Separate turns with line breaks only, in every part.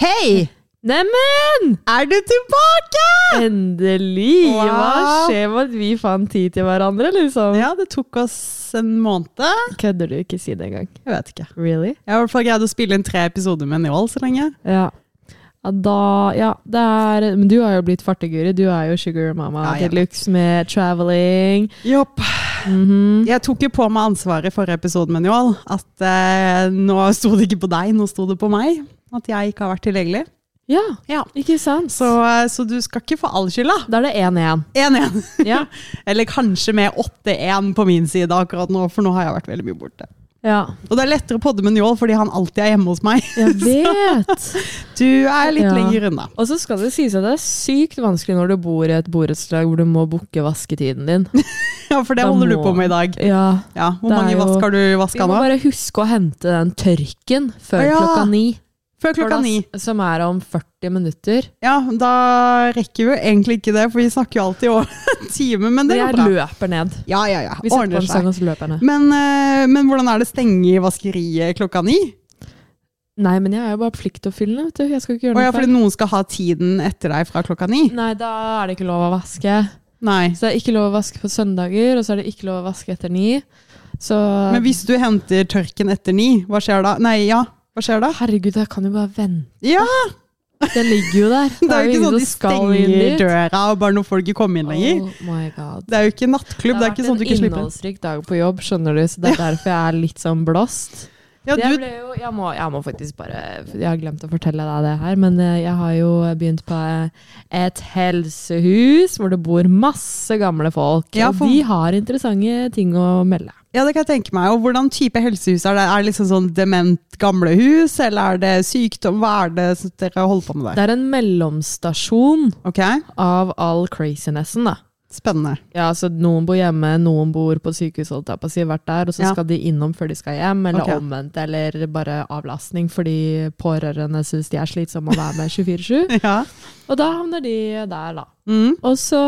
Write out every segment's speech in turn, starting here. Hei!
Neimen!
Er du tilbake?!
Endelig! Hva
Wow.
skjer med at vi fant tid til hverandre, liksom?
Ja, det tok oss en måned.
Kødder du? Ikke si det engang.
Jeg vet ikke.
Really?
Jeg har i hvert fall greid å spille inn tre episoder med Njål så lenge.
Ja. ja. Da Ja, det er Men du har jo blitt farteguri. Du er jo sugar mama
Ja, jeg
til luxe med traveling.
Jopp.
Mhm.
Jeg tok jo på meg ansvaret i forrige episode med Njål. At eh, nå sto det ikke på deg, nå sto det på meg. At jeg ikke har vært tilgjengelig.
Ja,
Ja.
ikke sant?
Så, eh, så du skal ikke få all skylda.
da er det 1-1.
1-1.
Ja.
Eller kanskje med 8-1 på min side akkurat nå, for nå har jeg vært veldig mye borte.
ja.
Og det er lettere å podde med Njål fordi han alltid er hjemme hos meg.
Jeg vet!
Du er litt
Ja.
lenger unna.
Og så skal det sies at det er sykt vanskelig når du bor i et borettslag hvor du må booke vasketiden din.
Ja, for det
Da
holder du
må-
på med i dag.
Ja,
Ja, Hvor
Det er
mange
jo-
vask har du
Vi
vaska
må
nå?
bare huske å hente den tørken før
Å, ja.
klokka ni.
Før klokka
For da-
ni.
Som er om 40 minutter.
Ja, da rekker vi jo egentlig ikke det, for vi snakker jo alltid over en time, men det
Jeg
går bra.
løper ned.
Ja, ja, ja.
Vi setter
Ordner
på en sang
seg.
og så løper jeg ned.
Men, eh, men hvordan er det stenge i vaskeriet klokka ni?
Nei, men jeg er jo bare pliktoppfyllende, vet du. Jeg skal ikke gjøre
Å
noe
ja, fordi
feil.
noen skal ha tiden etter deg fra klokka ni?
Nei, da er det ikke lov å vaske.
Nei.
Så det er ikke lov å vaske på søndager, og så er det ikke lov å vaske etter ni. Så
Men hvis du henter tørken etter ni, hva skjer da? Nei, ja, hva skjer da?
Herregud, jeg kan jo bare vente.
Ja,
Den ligger jo der.
Det er jo ikke
ingen
sånn
som
de
skal inn
stenger
dit.
døra og bare når folk ikke kommer inn lenger.
Oh my god.
Det er jo ikke nattklubb. Det er ikke sånn du ikke
en
slipper
innholdsrik dag på jobb, skjønner du, så det er derfor jeg er litt sånn blåst.
ja,
jeg,
du,
ble jo, jeg, må, jeg må faktisk bare Jeg har glemt å fortelle deg det her, men eh, jeg har jo begynt på eh, et helsehus hvor det bor masse gamle folk.
Ja, for-
Og de har interessante ting å melde.
ja, det kan jeg tenke meg. Og hvordan type helsehus er det? Er det liksom sånn dement gamlehus, eller er det sykdom? Hva er det som dere holder på med der?
Det er en mellomstasjon
Ok,
av all crazinessen, da.
spennende.
Ja, så Noen bor hjemme, noen bor på sykehus, holdt jeg på å si, vært der, og så
Ja.
skal de innom før de skal hjem, eller
Ok.
omvendt, eller bare avlastning fordi pårørende syns de er slitsomme å være med 24-7.
Ja.
Og da havner de der, da.
Mm.
Og så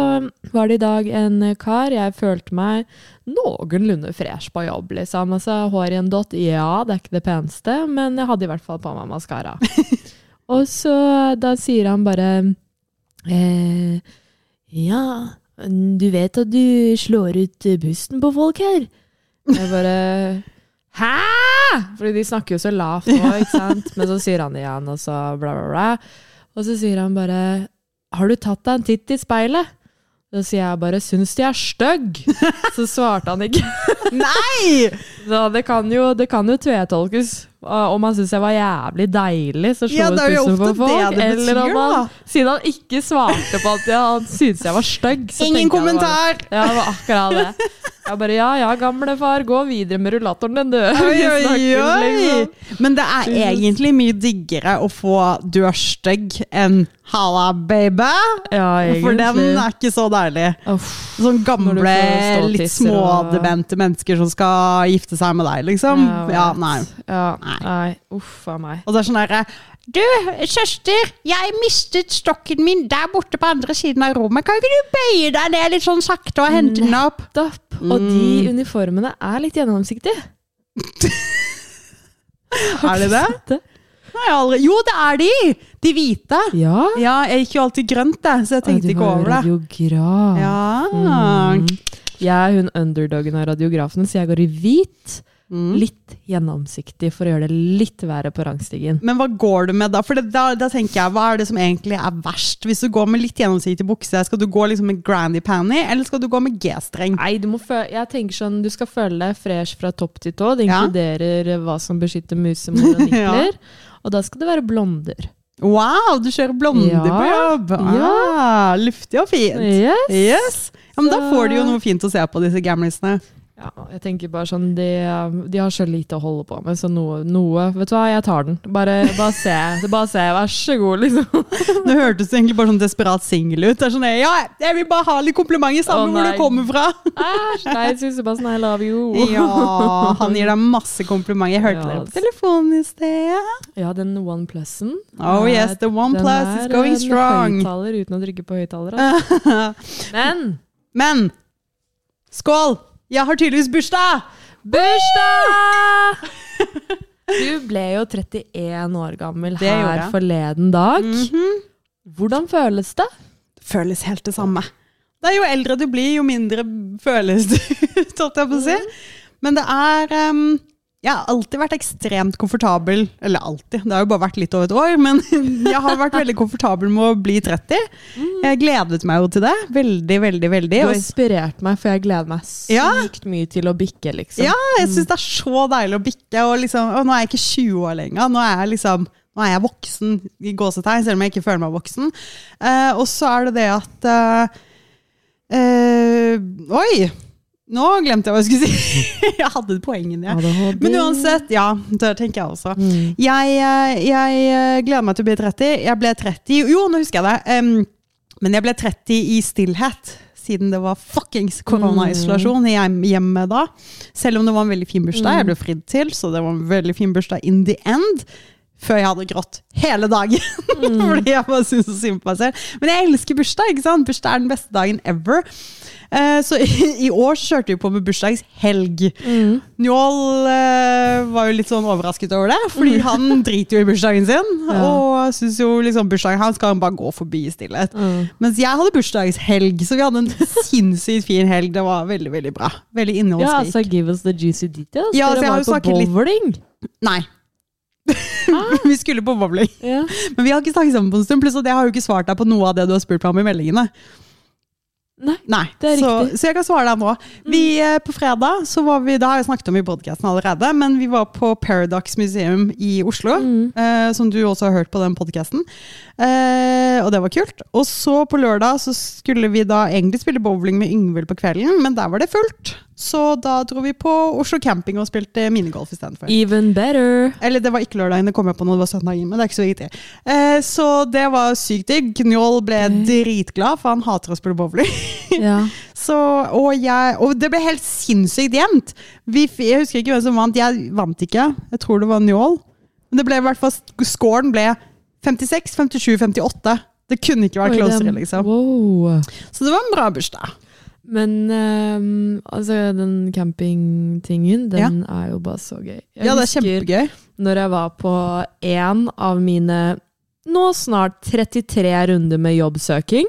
var det i dag en kar. Jeg følte meg noenlunde fresh på jobb, liksom. Altså, hår i en dott, ja, det er ikke det peneste, men jeg hadde i hvert fall på meg maskara. og så da sier han bare eh, Ja, du vet at du slår ut pusten på folk her? Jeg bare Hæ?! Fordi de snakker jo så lavt nå, ikke sant? Men så sier han det igjen, og så bla, bla, bla. Og så sier han bare Har du tatt deg en titt i speilet? Så sier jeg bare 'syns de er stygg'. Så svarte han ikke.
Nei!
Så det kan jo, det kan jo tvetolkes. Og Om han syntes jeg var jævlig deilig, så slo
Ja,
ut
det er jo
pusten på
ofte det
folk.
det
Eller om
betyr,
han,
da.
siden han ikke svarte på at jeg- han syntes jeg var stygg. så
Ingen
tenkte jeg bare-
kommentar!
ja, det var akkurat det. Jeg bare ja ja, gamle far, gå videre med rullatoren din, du.
Oi,
Vi
oi, oi!
snakkes, liksom.
Men det er egentlig mye diggere å få du er stygg enn halla, baby.
Ja,
For den
egentlig.
er ikke så deilig.
Uff.
Sånn
Når du
gamle,
får ståtisser
litt
og-
smådemente mennesker som skal gifte seg med deg, liksom.
jeg vet.
Ja, nei.
Ja,
Nei.
nei. Uff a meg.
Og det er sånn derre Du, søster, jeg mistet stokken min der borte på andre siden av rommet. Kan ikke du bøye deg ned litt sånn sakte og hente den opp?
Stopp. Og
Mm.
de uniformene er litt gjennomsiktige.
Er det det?
Det-
Nei, jeg har aldri. Jo, det er de! De hvite.
Ja.
Ja, jeg gikk jo alltid grønt, jeg, så jeg tenkte
Å, du
ikke
var jo
over det.
Radiograf.
Ja.
Jeg er hun underdogen av radiografen, så jeg går i hvit.
Mm.
Litt gjennomsiktig for å gjøre det litt verre på rangstigen.
Men hva går du med da? For det, da, da tenker jeg, hva er det som egentlig er verst? Hvis du går med litt gjennomsiktig bukse, skal du gå liksom med grandy panty, eller skal du gå med G-streng?
Nei, du, må fø jeg tenker sånn, du skal føle deg fresh fra topp til tå. Det
Ja.
inkluderer eh, hva som beskytter musemor og nippler. Og da skal det være blonder.
Wow, du kjører blonde
Ja,
på jobb! Ah, luftig og fint.
Yes.
Yes. Ja, men da
Så-
får du jo noe fint å se på, disse gamlisene.
Ja, jeg tenker bare sånn, de, de har så lite å holde på med, så noe, noe Vet du hva, jeg tar den. Bare, bare se, bare se, vær så god, liksom.
Nå hørtes det egentlig bare sånn desperat singel ut. Det er sånn, ja, jeg vil bare ha litt komplimenter
Å,
sammen med hvor
nei.
du kommer fra.
Æsj, nei, Susebassen, I love you.
Ja, han gir deg masse komplimenter. Jeg hørte
Ja,
dere
ass.
på telefonen i sted.
Ja, den OnePlussen.
Oh yes, the one plus is going strong.
Den er en høyttaler uten å trykke på høyttaler. altså. Men
Men skål! Jeg har tydeligvis bursdag!
bursdag! Du ble jo 31 år gammel
Det gjorde
her
jeg. Mhm.
forleden dag. Hvordan føles det?
Føles helt det samme. Det er jo eldre du blir, jo mindre føles det ut, holdt jeg på å si.
Mm.
Men det er em, Jeg har alltid vært ekstremt komfortabel. Eller alltid, det har jo bare vært litt over et år. Men jeg har vært veldig komfortabel med å bli 30. Jeg gledet meg jo til det. Veldig, veldig, veldig.
Mm. Du har
Og
inspirert meg, for jeg gleder meg
Ja.
sykt mye til å bikke, liksom.
Ja, jeg syns det er så deilig å bikke. Og liksom, å, nå er jeg ikke 20 år lenger. Nå er jeg, liksom, nå er jeg voksen, i gåsetegn, selv om jeg ikke føler meg voksen. Eh, og så er det det at eh, eh, Oi! Nå glemte jeg hva jeg skulle si. jeg hadde et poeng inni. jeg.
ADHD.
Men uansett, ja. Det tenker jeg også.
Mm.
Jeg, eh, jeg eh, gleder meg til å bli 30. Jeg ble 30 Jo, nå husker jeg det. Em, men jeg ble 30 i stillhet, siden det var fuckings koronaisolasjon i hjem- hjemmet da. Selv om det var en veldig fin bursdag. Jeg ble fridd til, så det var en veldig fin bursdag in the end. Før jeg hadde grått hele dagen. Fordi jeg bare syntes så synd på meg selv. Men jeg elsker bursdag. ikke sant? Bursdag er den beste dagen ever. Eh, Så i, i år så kjørte vi på med bursdagshelg.
Mm.
Njål eh, var jo litt sånn overrasket over det, fordi han driter jo i bursdagen sin.
Mm. Ja.
Og syns jo liksom bursdagen hans skal han bare gå forbi i stillhet.
Mm.
Mens jeg hadde bursdagshelg, så vi hadde en sinnssykt fin helg. Det var veldig, veldig bra. Veldig
Ja,
innholdsrik.
altså, give us the juicy details.
Ja, så
Dere
jeg har
var
jo
på
snakket litt-
bowling.
Nei.
Ah.
vi skulle på bowling.
Ja.
Men vi har ikke snakket sammen på en stund. Pluss at jeg har jo ikke svart deg på noe av det du har spurt meg om i meldingene.
Nei,
Nei,
det er
så,
riktig. Mm.
så jeg kan svare deg nå. Vi, eh, På fredag så var vi, det har jeg snakket om i podcasten allerede, men vi var på Paradox Museum i Oslo,
Mm.
eh, som du også har hørt på den podcasten. Eh, og det var kult. Og så på lørdag så skulle vi da egentlig spille bowling med Yngvild på kvelden, men der var det fullt. Så da dro vi på Oslo Camping og spilte minigolf istedenfor.
Even better.
Eller det var ikke lørdagen, det kom jeg på når det var søndagen. Men det er ikke så viktig. Eh, så det var sykt digg. Njål ble
Mm.
dritglad, for han hater å spille bowling.
Ja.
Så, og, jeg, og det ble helt sinnssykt jevnt. Vi, f- jeg husker ikke hvem som vant. Jeg vant ikke. Jeg tror det var Njål. Men det ble i hvert fall scoren ble 56, 57, 58. Det kunne ikke vært
Oi,
closere,
den-
liksom.
Wow.
Så det var en bra bursdag.
Men ehm, altså, den campingtingen, den er jo bare så gøy. Jeg
Ja, det er
husker
kjempegøy.
når jeg var på én av mine nå snart 33 runder med jobbsøking,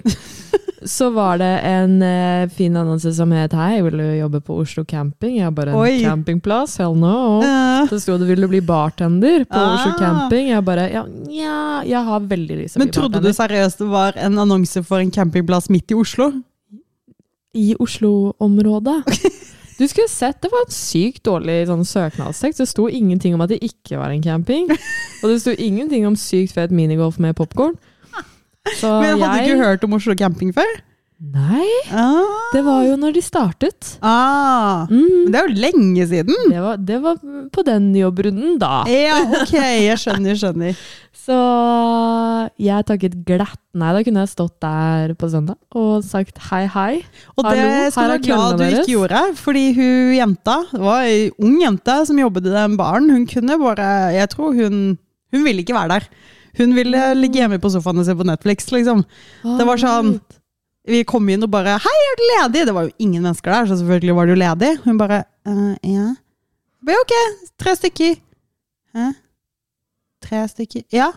så var det en eh, fin annonse som het 'Hei, vil du jobbe på Oslo camping?' Jeg bare 'En
Oi.
campingplass? Hell no'.
Eh,
Så sto det 'Vil du bli bartender på Oslo
Ah.
camping?' Jeg bare ja, nja, jeg har veldig lyst til å
men
bli
trodde du
bartender.
seriøst det var en annonse for en campingplass midt i Oslo?
i Oslo-området. Du skulle sett, det var en sykt dårlig sånn, søknadstekst. Det sto ingenting om at det ikke var en camping. Og det sto ingenting om sykt fet minigolf med popkorn. Så
Men hadde
jeg
du ikke hørt om Oslo camping før?
Nei,
Ah.
det var jo når de startet.
Ah,
Mm,
men det er jo lenge siden.
det, var, det var på den jobbrunden, da.
Mm. Ja, ok, jeg skjønner, skjønner.
Så jeg takket glatt nei. Da kunne jeg stått der på søndag og sagt hei, hei.
Og det
Hallo,
skal du
her
være
er
glad du
kundene
ikke
deres.
gjorde, fordi hun jenta, det var ei ung jente som jobbet i den baren, hun kunne bare, jeg tror hun, hun ville ikke være der. Hun ville ligge hjemme på sofaen og se på Netflix, liksom. Det var sånn- Vi kom inn og bare, hei, er du ledig? Det var jo ingen mennesker der, så selvfølgelig var du ledig. Hun bare, «Eh, ja. Jeg bare, ok, tre stykker. Hæ? Tre stykker? Ja,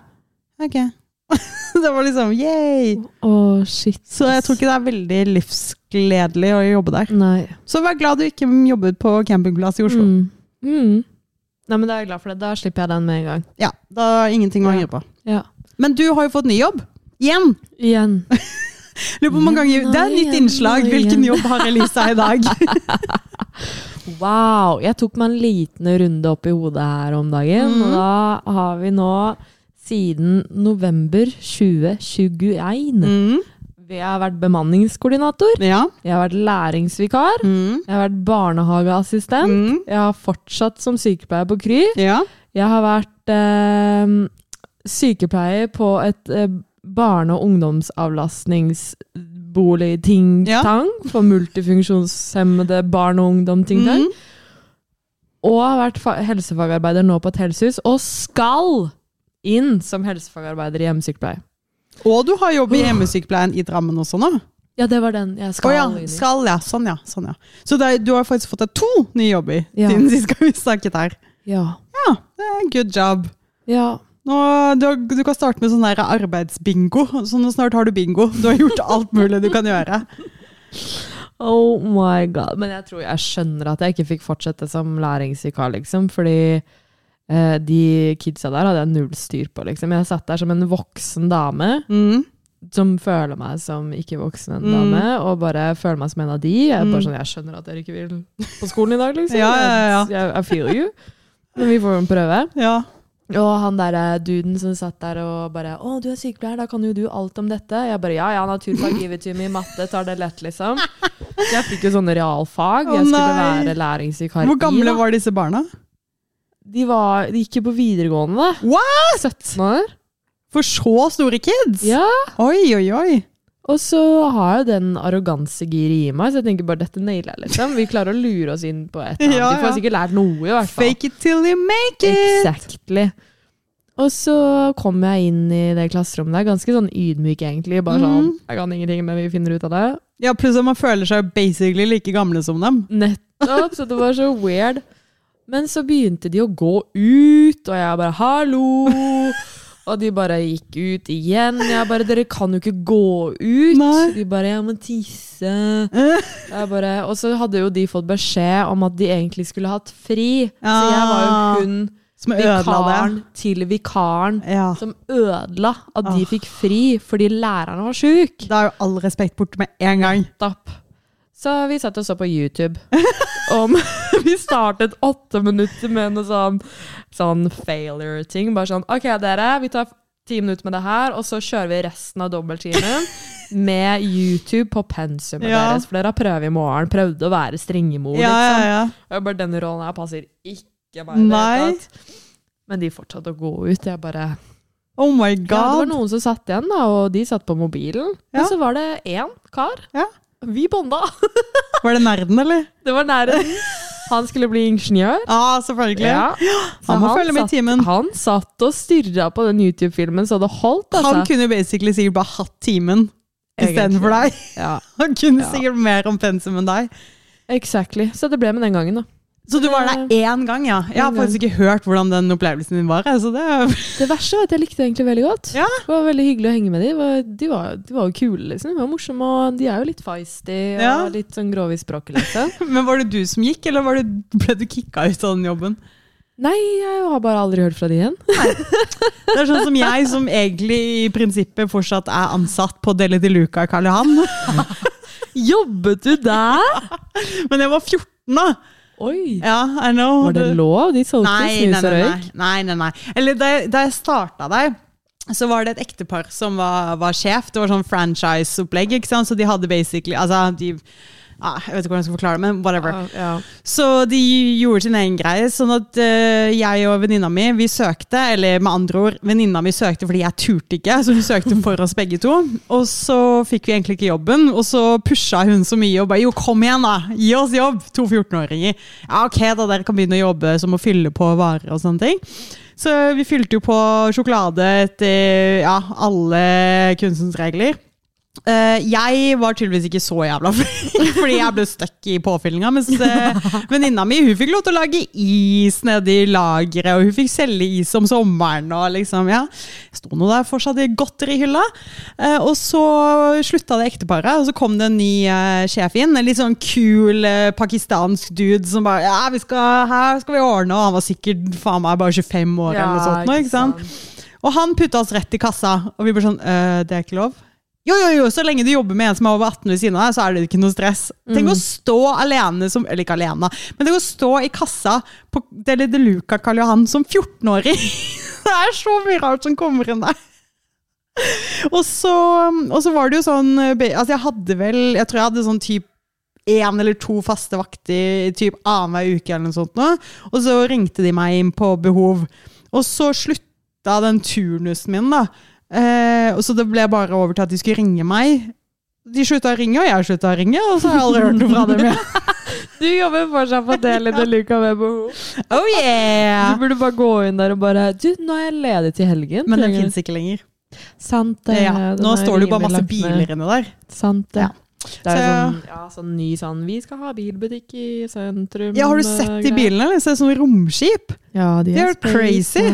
ok. det var liksom, yay!
Å, shit.
Så jeg tror ikke det er veldig livsgledelig å jobbe der.
Nei.
Så vær glad du ikke jobbet på campingplass i Oslo.
Mm. Mm. Nei, men da er jeg glad for det. Da slipper jeg den med en gang.
Ja, da er ingenting å
Ja.
angre på.
Ja.
Men du har jo fått ny jobb. Igjen!
Igjen.
Lurer på hvor mange ganger. Det er et nytt innslag. Hvilken jobb har Elisa i dag?
Wow! Jeg tok meg en liten runde opp i hodet her om dagen.
Mhm.
Og da har vi nå, siden november 2021
Mm.
Vi har vært bemanningskoordinator,
Ja.
jeg har vært læringsvikar,
Mm.
jeg har vært barnehageassistent,
Mm.
jeg har fortsatt som sykepleier på Kry,
Ja.
jeg har vært eh, sykepleier på et eh, barne- og ungdomsavlastningsbolig-ting-tang for multifunksjonshemmede barn og ungdom-ting-tang.
Mm.
Og har vært fa- helsefagarbeider nå på et helsehus, og skal inn som helsefagarbeider i hjemmesykepleie.
Og du har jobb i hjemmesykepleien i Drammen også nå.
Ja, det var den jeg
Å
skal
ja,
inn i.
skal ja. Sånn ja. Sånn, ja. Så det er, du har faktisk fått deg to nye jobber
Ja.
siden sist gang vi snakket her.
Ja.
Ja, det er good job.
ja.
Nå, du, har- du kan starte med sånn der arbeidsbingo. Så nå snart har du bingo. Du har gjort alt mulig du kan gjøre.
Oh my god. Men jeg tror jeg skjønner at jeg ikke fikk fortsette som læringsvikar, liksom. Fordi eh, de kidsa der hadde jeg null styr på, liksom. Jeg satt der som en voksen dame
Mm.
Mhm. som føler meg som ikke voksen en
Mm.
dame, og bare føler meg som en av de. Jeg er
Mm.
bare sånn, jeg skjønner at dere ikke vil på skolen i dag, liksom.
Ja, ja, ja.
Jeg, I feel you. Men vi får jo en prøve.
Ja.
Og han der eh, duden som satt der og bare 'Å, du er sykepleier, da kan jo du alt om dette.' Jeg bare 'Ja, ja, naturfag, give it to me, matte, tar det lett', liksom. Så Jeg fikk jo sånne realfag. Jeg
Å,
skulle
nei.
være læringsvikar.
Hvor
i,
gamle
da.
var disse barna?
de? Var, de gikk jo på videregående.
What?
17 år.
For så store kids?
Ja.
Oi, oi, oi.
Og så har jeg den arrogansegiret i meg, så jeg tenker bare 'dette nailer jeg', liksom. Vi klarer å lure oss inn på et eller annet.
Ja,
De får
ja.
sikkert lært noe, i hvert fall.
Fake it till you make it.
Exactly. Og så kom jeg inn i det klasserommet der, ganske sånn ydmyk egentlig. Bare sånn,
Mhm.
jeg kan ingenting, men vi finner ut av det.
Ja, pluss at man føler seg basically like gamle som dem.
Nettopp, så det var så weird. Men så begynte de å gå ut, og jeg bare 'hallo'. Og de bare gikk ut igjen. Jeg bare 'dere kan jo ikke gå ut'.
Nei.
De bare 'jeg må tisse'. Jeg bare, og så hadde jo de fått beskjed om at de egentlig skulle hatt fri. Så jeg var
Ah.
jo hun
Som ødela det.
vikaren til vikaren.
Ja.
som ødela at de fikk fri fordi læreren var sjuk.
Da er jo all respekt borte med en gang.
Stapp. Så vi satt og så på YouTube. Om, vi startet åtte minutter med noe sånn, sånn failure-ting. Bare sånn OK, dere, vi tar ti minutter med det her, og så kjører vi resten av dobbelttimen med YouTube på pensumet
Ja.
deres. For dere har prøve i morgen. Prøvde å være strengemor,
Ja, ja,
liksom.
ja.
Og jeg bare, denne rollen her passer ikke meg. i det hele
Nei.
tatt. Men de fortsatte å gå ut. Jeg bare
Oh my
Ja, det var
god.
noen som satt igjen, da, og de satt på mobilen.
Ja.
Og så var det én kar.
Ja.
Vi bonda!
Var det nerden, eller?
Det var nære. Han skulle bli ingeniør.
Ja, selvfølgelig.
Så
Han må følge med i
satt,
timen.
Han satt og stirra på den YouTube-filmen, så det holdt.
Han
Altså.
kunne jo basically sikkert bare hatt timen istedenfor
Egentlig.
deg.
Ja,
Han kunne
Ja.
sikkert mer om pensum enn deg.
exactly. Så det ble med den gangen, da.
Så du var der én gang, ja. Jeg har
En
faktisk ikke hørt hvordan den opplevelsen din var. jeg, Så det,
Det verste var at jeg likte det egentlig veldig godt.
Ja.
Det var veldig hyggelig å henge med dem. De var, de var jo kule, liksom. De var morsomme, og de er jo litt feisty og
Ja.
litt sånn grove i språket, liksom.
men var det du som gikk, eller var det, ble du kicka ut av den jobben?
Nei, jeg har bare aldri hørt fra de igjen.
Det er sånn som jeg, som egentlig i prinsippet fortsatt er ansatt på Deli de Luca i Karl Johan.
Jobbet du der?
Men jeg var 14, da!
Oi!
Ja, I know.
Var det lov? De solgte
Nei, nei,
snus
nei,
og røyk?
nei, nei, nei, nei. Eller da, jeg- da jeg starta der, så var det et ektepar som var, var sjef. Det var sånn franchise-opplegg, ikke sant? så de hadde basically altså, de, ah, Jeg vet ikke hvordan jeg skal forklare det, men whatever.
Ja.
Så de gjorde sin egen greie, sånn at eh, jeg og venninna mi vi søkte, eller med andre ord, venninna mi søkte fordi jeg turte ikke, så hun søkte for oss begge to. Og så fikk vi egentlig ikke jobben, og så pusha hun så mye og bare jo, kom igjen, da! Gi oss jobb! To 14-åringer. Ja, ok, da dere kan begynne å jobbe som å fylle på varer og sånne ting. Så vi fylte jo på sjokolade etter ja, alle kunstens regler. Eh, jeg var tydeligvis ikke så jævla flink, fordi jeg ble stuck i påfyllinga. Mens eh, venninna mi hun fikk lov til å lage is nede i lageret, og hun fikk selge is om sommeren. Og liksom, ja. Sto nå der fortsatt i godterihylla. Eh, og så slutta det ekteparet, og så kom det en ny eh, sjef inn. En litt sånn kul eh, pakistansk dude som bare Ja, vi skal, her skal vi ordne, og han var sikkert faen meg bare 25 år eller noe sånt. nå, ikke sant? Og han putta oss rett i kassa, og vi ble sånn «Øh, Det er ikke lov. Jo, jo, jo, så lenge du jobber med en som er over 18 ved siden av deg, så er det ikke noe stress. Tenk å stå alene som Eller ikke alene, men tenk å stå i kassa på Deli de Luca Karl Johan som 14-åring. Det er så mye rart som kommer inn der. Og så, og så var det jo sånn eh, be- Altså, jeg hadde vel Jeg tror jeg hadde sånn typ én eller to faste vakter typ annenhver uke, eller noe sånt. Nå. Og så ringte de meg inn på behov. Og så slutta den turnusen min, da. Eh, og så det ble bare over til at de skulle ringe meg. De slutta å ringe, og jeg slutta å ringe, og så har jeg aldri hørt noe fra dem igjen.
Du jobber fortsatt på Deli de Luca med behov.
Oh
Du
yeah!
burde bare gå inn der og bare Du, nå er jeg ledig til helgen.
Men den
Trenger-
fins ikke lenger.
Sant det.
Ja,
den
nå
er
står det jo bare
rimelig
masse
langt ned.
biler inni der.
Sant det.
Ja.
Det er jo
Så-
sånn, ja, sånn ny sånn Vi skal ha bilbutikk i sentrum.
Ja, Har du
eh,
sett de
greier.
bilene? eller? Ser ut som romskip.
Ja, de
Det er jo
er
crazy.
space,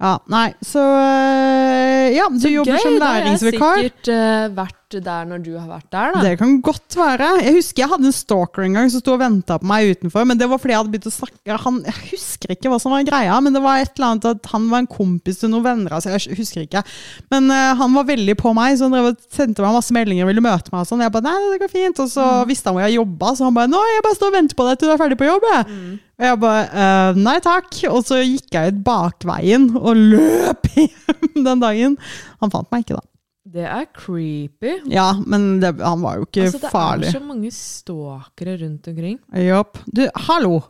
Ja, nei, så øh, Ja, du
ja.
jobber
Gøy,
som
da har jeg
læringsvikar.
sikkert eh, vært der når du har vært der, da.
Det kan godt være. Jeg husker jeg hadde en stalker en gang som sto og venta på meg utenfor. Men det var fordi jeg hadde begynt å snakke han, Jeg husker ikke hva som var greia, men det var et eller annet at han var en kompis til noen venner. Altså, jeg husker ikke. Men eh, han var veldig på meg, så han drev og sendte meg masse meldinger og ville møte meg. Og sånn. jeg bare, nei, det går fint. Og så
Mm.
visste han hvor jeg jobba, så han bare 'Nå, jeg bare står og venter på deg til du er ferdig på jobb', jeg'.
Mm.
Og jeg bare «Eh, Nei takk. Og så gikk jeg ut bakveien og løp hjem den dagen. Han fant meg ikke, da.
Det er creepy.
Ja, men det, han var jo ikke
Altså, det
farlig.
er så mange stalkere rundt omkring.
Jopp. Du, hallo!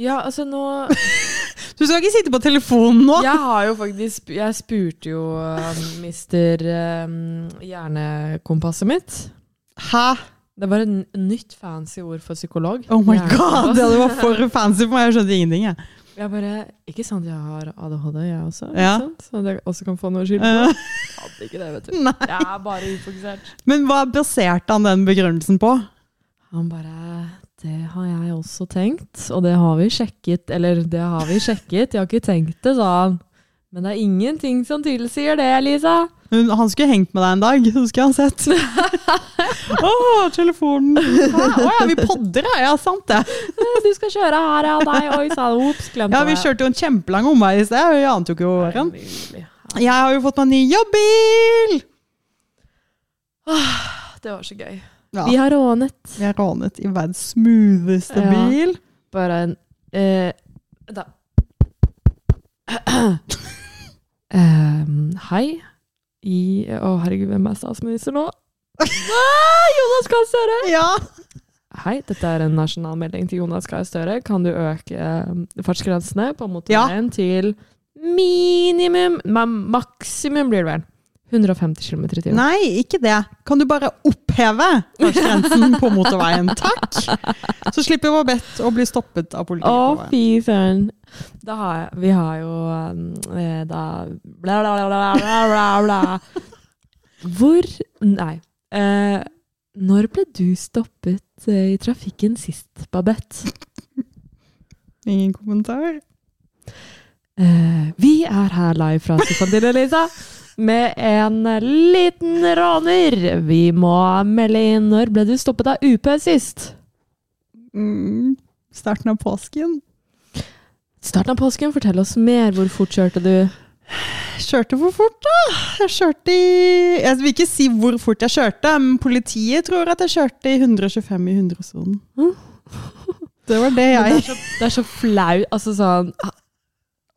Ja, altså nå
Du skal ikke sitte på telefonen nå!
Jeg har jo faktisk Jeg spurte jo um, mister um, hjernekompasset mitt.
Hæ?
Det var et n- nytt fancy ord for psykolog.
Oh my god!
Hjernekompass.
Det var for fancy for meg. Jeg skjønte ingenting, jeg.
Jeg bare Ikke sant jeg har ADHD, jeg også?
Ja.
Ikke sant? Så det også kan få noe skyld på.
Eh,
Jeg Hadde ikke det, vet du.
nei.
Jeg er bare ufokusert.
Men hva baserte han den begrunnelsen på?
Han bare Det har jeg også tenkt, og det har vi sjekket. Eller, det har vi sjekket, jeg har ikke tenkt det, sa han. Men det er ingenting som tilsier det, Lisa.
Hun, han skulle hengt med deg en dag, så skulle han sett. Å, telefonen! Hæ? Å ja, vi podder, ja. ja. Sant det.
Du skal kjøre her, ja. Nei, oi sann. Ops, glemte
Ja, vi kjørte jo en kjempelang omvei i sted. Vi ante jo ikke hvor den.
kjører.
Jeg har jo fått meg ny jobbbil!
Ah, Det var så gøy.
Ja,
Vi har rånet
vi har rånet i verdens smootheste
Ja.
bil.
bare en eh, da. Ehm, hei. I Å, herregud, hvem er statsminister nå? Nei, Jonas Gahr Støre!
Ja.
Hei, dette er en nasjonal melding til Jonas Gahr Støre. Kan du øke eh, fartsgrensene på motorveien til minimum ma- Maksimum blir det vel. 150 km i timen.
Nei, ikke det. Kan du bare oppheve fartsgrensen på motorveien? Takk! Så slipper Babette å bli stoppet av politiet.
Å,
på veien.
fy søren. Da har jeg, vi har jo eh, da bla, bla, bla, bla, bla, bla, bla. Hvor Nei. Eh, når ble du stoppet eh, i trafikken sist, Babette?
Ingen kommentar.
Eh, vi er her live fra Sufantine, Lisa, med en liten råner. Vi må melde inn. Når ble du stoppet av UP sist?
Mm. Starten av påsken.
Starten av påsken, fortell oss mer. Hvor fort kjørte du?
Jeg kjørte for fort, da. Jeg kjørte i Jeg vil ikke si hvor fort jeg kjørte, men politiet tror at jeg kjørte i 125 i 100-sonen. Det var det
Men
jeg
Det er så, det er så flaut. Altså sånn ah,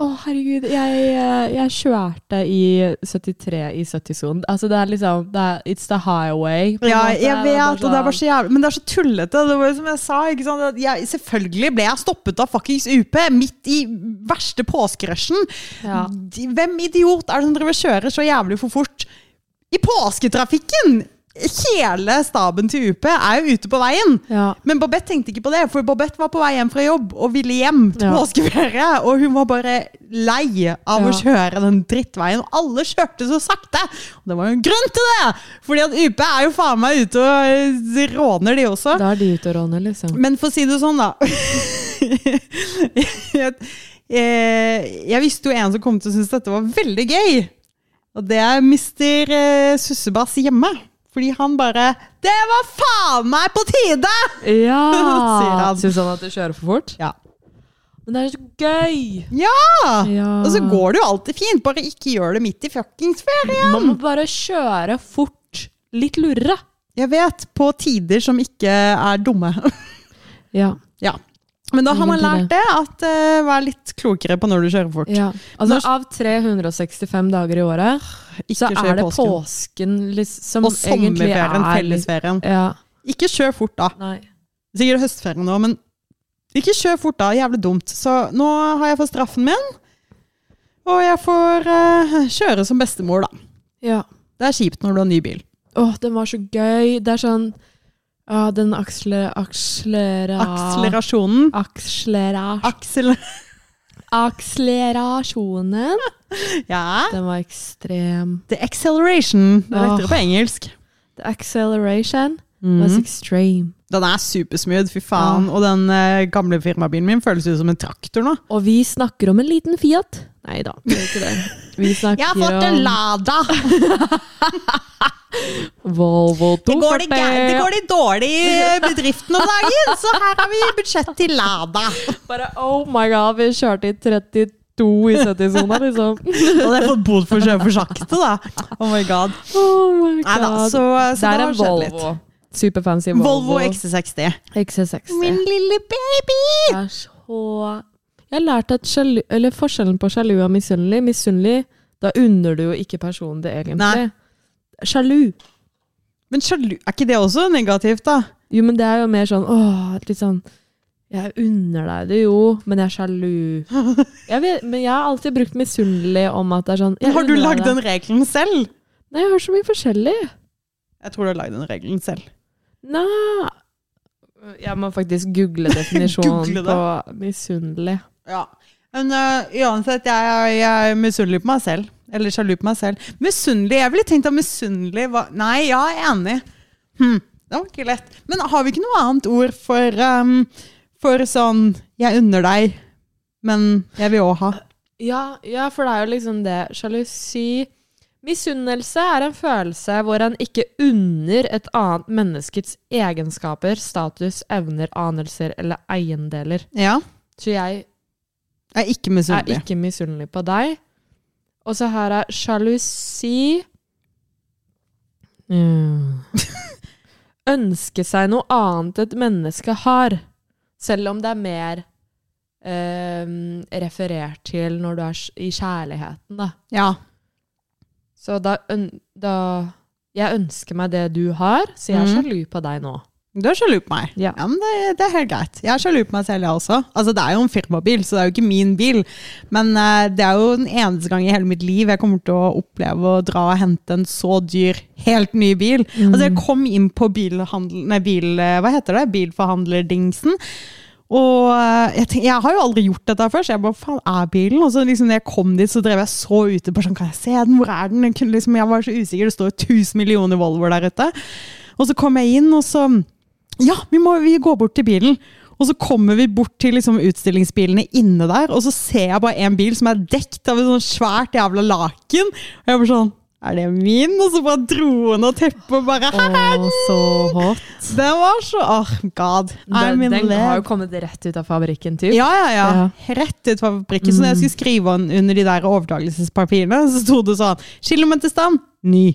Å, herregud. Jeg, eh, jeg kjørte i 73 i 70-sonen. Altså, det er liksom det er, It's the highway. på en
Ja, jeg
måte. Det
vet,
er sånn.
og det er bare så jævlig Men det er så tullete. Det var jo som jeg sa, ikke sant? at Jeg, selvfølgelig ble jeg stoppet av fuckings UP midt i verste påskerushen.
Ja.
De- Hvem idiot er det som driver og kjører så jævlig for fort i påsketrafikken? Hele staben til UP er jo ute på veien.
Ja.
Men Babette tenkte ikke på det, for Babette var på vei hjem fra jobb og ville hjem til
Ja.
påskeferie. Og hun var bare lei av å
Ja.
kjøre den drittveien, og alle kjørte så sakte! Og det var jo en grunn til det! Fordi at UP er jo faen meg ute og eh, råner, de også.
Da er de ute og råner, liksom.
Men for å si det sånn, da. jeg, eh, jeg visste jo en som kom til å synes dette var veldig gøy. Og det er mister eh, Sussebass hjemme. Fordi han bare 'Det var faen meg på tide!' Sier
Ja!
han.
Syns han at du kjører for fort?
Ja.
Men det er så gøy!
Ja!
Ja.
Og så går det jo alltid fint, bare ikke gjør det midt i fuckings ferien.
Man må bare kjøre fort. Litt lurre.
Jeg vet, på tider som ikke er dumme.
Ja.
ja. Men da har man lært
Egentlig
det, at eh, vær litt klokere på når du kjører fort.
ja. Altså, av 365 dager i året,
Ikke
så er
kjør
det
påsken.
påsken liksom, som
Og
egentlig er
sommerferien,
litt-
fellesferien.
Ja.
Ikke kjør fort da.
Nei.
Sikkert høstferien nå, men ikke kjør fort da. Jævlig dumt. Så nå har jeg fått straffen min, og jeg får eh, kjøre som bestemor, da.
Ja.
Det er kjipt når du har ny bil.
Åh, den var så gøy. Det er sånn Å, den aksler... Akslera...
Akselerasjonen.
Akslera...
Aksel...
Akselerasjonen.
Ah. Ja.
Den var ekstrem.
The acceleration. Det er
Åh.
lettere på engelsk.
The acceleration.
Mhm.
Den var så extreme.
Den er supersmooth, fy faen. Og den eh, gamle firmabilen min føles ut som en traktor nå.
Og vi snakker om en liten Fiat. Nei da, det er ikke det. Vi snakker om
Lada!
Volvo 240.
Det går det, gæ- det går litt dårlig i eh, bedriften om dagen, så her har vi budsjett til Lada.
Bare oh my god, vi kjørte i 32 i 70-sona, liksom.
Og det er fått bot for å kjøre for sakte, da. Oh my god.
Oh my god.
Nei da, så,
det
så
er
det
en
har skjedd litt.
Volvo. Superfancy Volvo.
Volvo XC60.
XC60.
Min lille baby!
Det er så Jeg har lært at sjalu, eller forskjellen på sjalu og misunnelig Misunnelig, da unner du jo ikke personen det egentlig.
Nei.
Sjalu.
Men sjalu, er ikke det også negativt, da?
Jo, men det er jo mer sånn åh, litt sånn Jeg unner deg det jo, men jeg er sjalu. Jeg vet, men jeg har alltid brukt misunnelig om at det er sånn jeg
Har du
unner deg
lagd
det.
den regelen selv?
Nei, jeg har så mye forskjellig.
Jeg tror du har lagd den regelen selv.
Nei Jeg må faktisk google definisjonen
Google det.
på misunnelig.
Ja. Men øh, uansett, jeg, jeg, jeg er misunnelig på meg selv. Eller sjalu på meg selv. Misunnelig? Jeg ville tenkt at misunnelig var Nei, ja, jeg er enig. Hm, det var ikke lett. Men har vi ikke noe annet ord for, øhm, for sånn Jeg unner deg, men jeg vil òg ha.
Ja, ja, for det er jo liksom det. Sjalusi Misunnelse er en følelse hvor en ikke unner et annet menneskets egenskaper, status, evner, anelser eller eiendeler.
Ja.
Så jeg
Jeg er ikke
er
misunnelig.
ikke misunnelig på deg. Og så her er sjalusi Mm. Ønske seg noe annet et menneske har, selv om det er mer eh, referert til når du er s- i kjærligheten, da.
Ja.
Så da, øn da Jeg ønsker meg det du har, så jeg er
Mhm.
sjalu på deg nå.
Du er sjalu på meg.
Ja.
men det, det er helt greit. Jeg er sjalu på meg selv, jeg også. Altså, det er jo en firmabil, så det er jo ikke min bil. Men eh, det er jo den eneste gang i hele mitt liv jeg kommer til å oppleve å dra og hente en så dyr, helt ny bil. Altså, jeg kom inn på bilhandel... Nei, bil... eh, Hva heter det? Bilforhandlerdingsen. Og eh, jeg, tenk, jeg har jo aldri gjort dette før, så jeg bare, faen, er bilen? Og så liksom når jeg kom dit, så drev jeg så ute, bare sånn, kan jeg se den? Hvor er den? Jeg, kunne, liksom, jeg var så usikker, det står jo tusen millioner Volvo der ute. Og så kom jeg inn, og så, ja, vi må vi går bort til bilen. Og så kommer vi bort til liksom, utstillingsbilene inne der, og så ser jeg bare en bil som er dekt av et sånn svært jævla laken. Og jeg bare sånn, er det min? Og så bare droen og teppet og bare,
Å, så hot.
den var så, oh god, I'm
Den,
in
den
love.
har jo kommet rett ut av fabrikken, typ.
Ja, ja, ja. Rett ut fra fabrikken. Så når
Mm.
jeg skulle skrive un- under de der overdragelsespapirene, så sto det sånn Kilometerstand ny.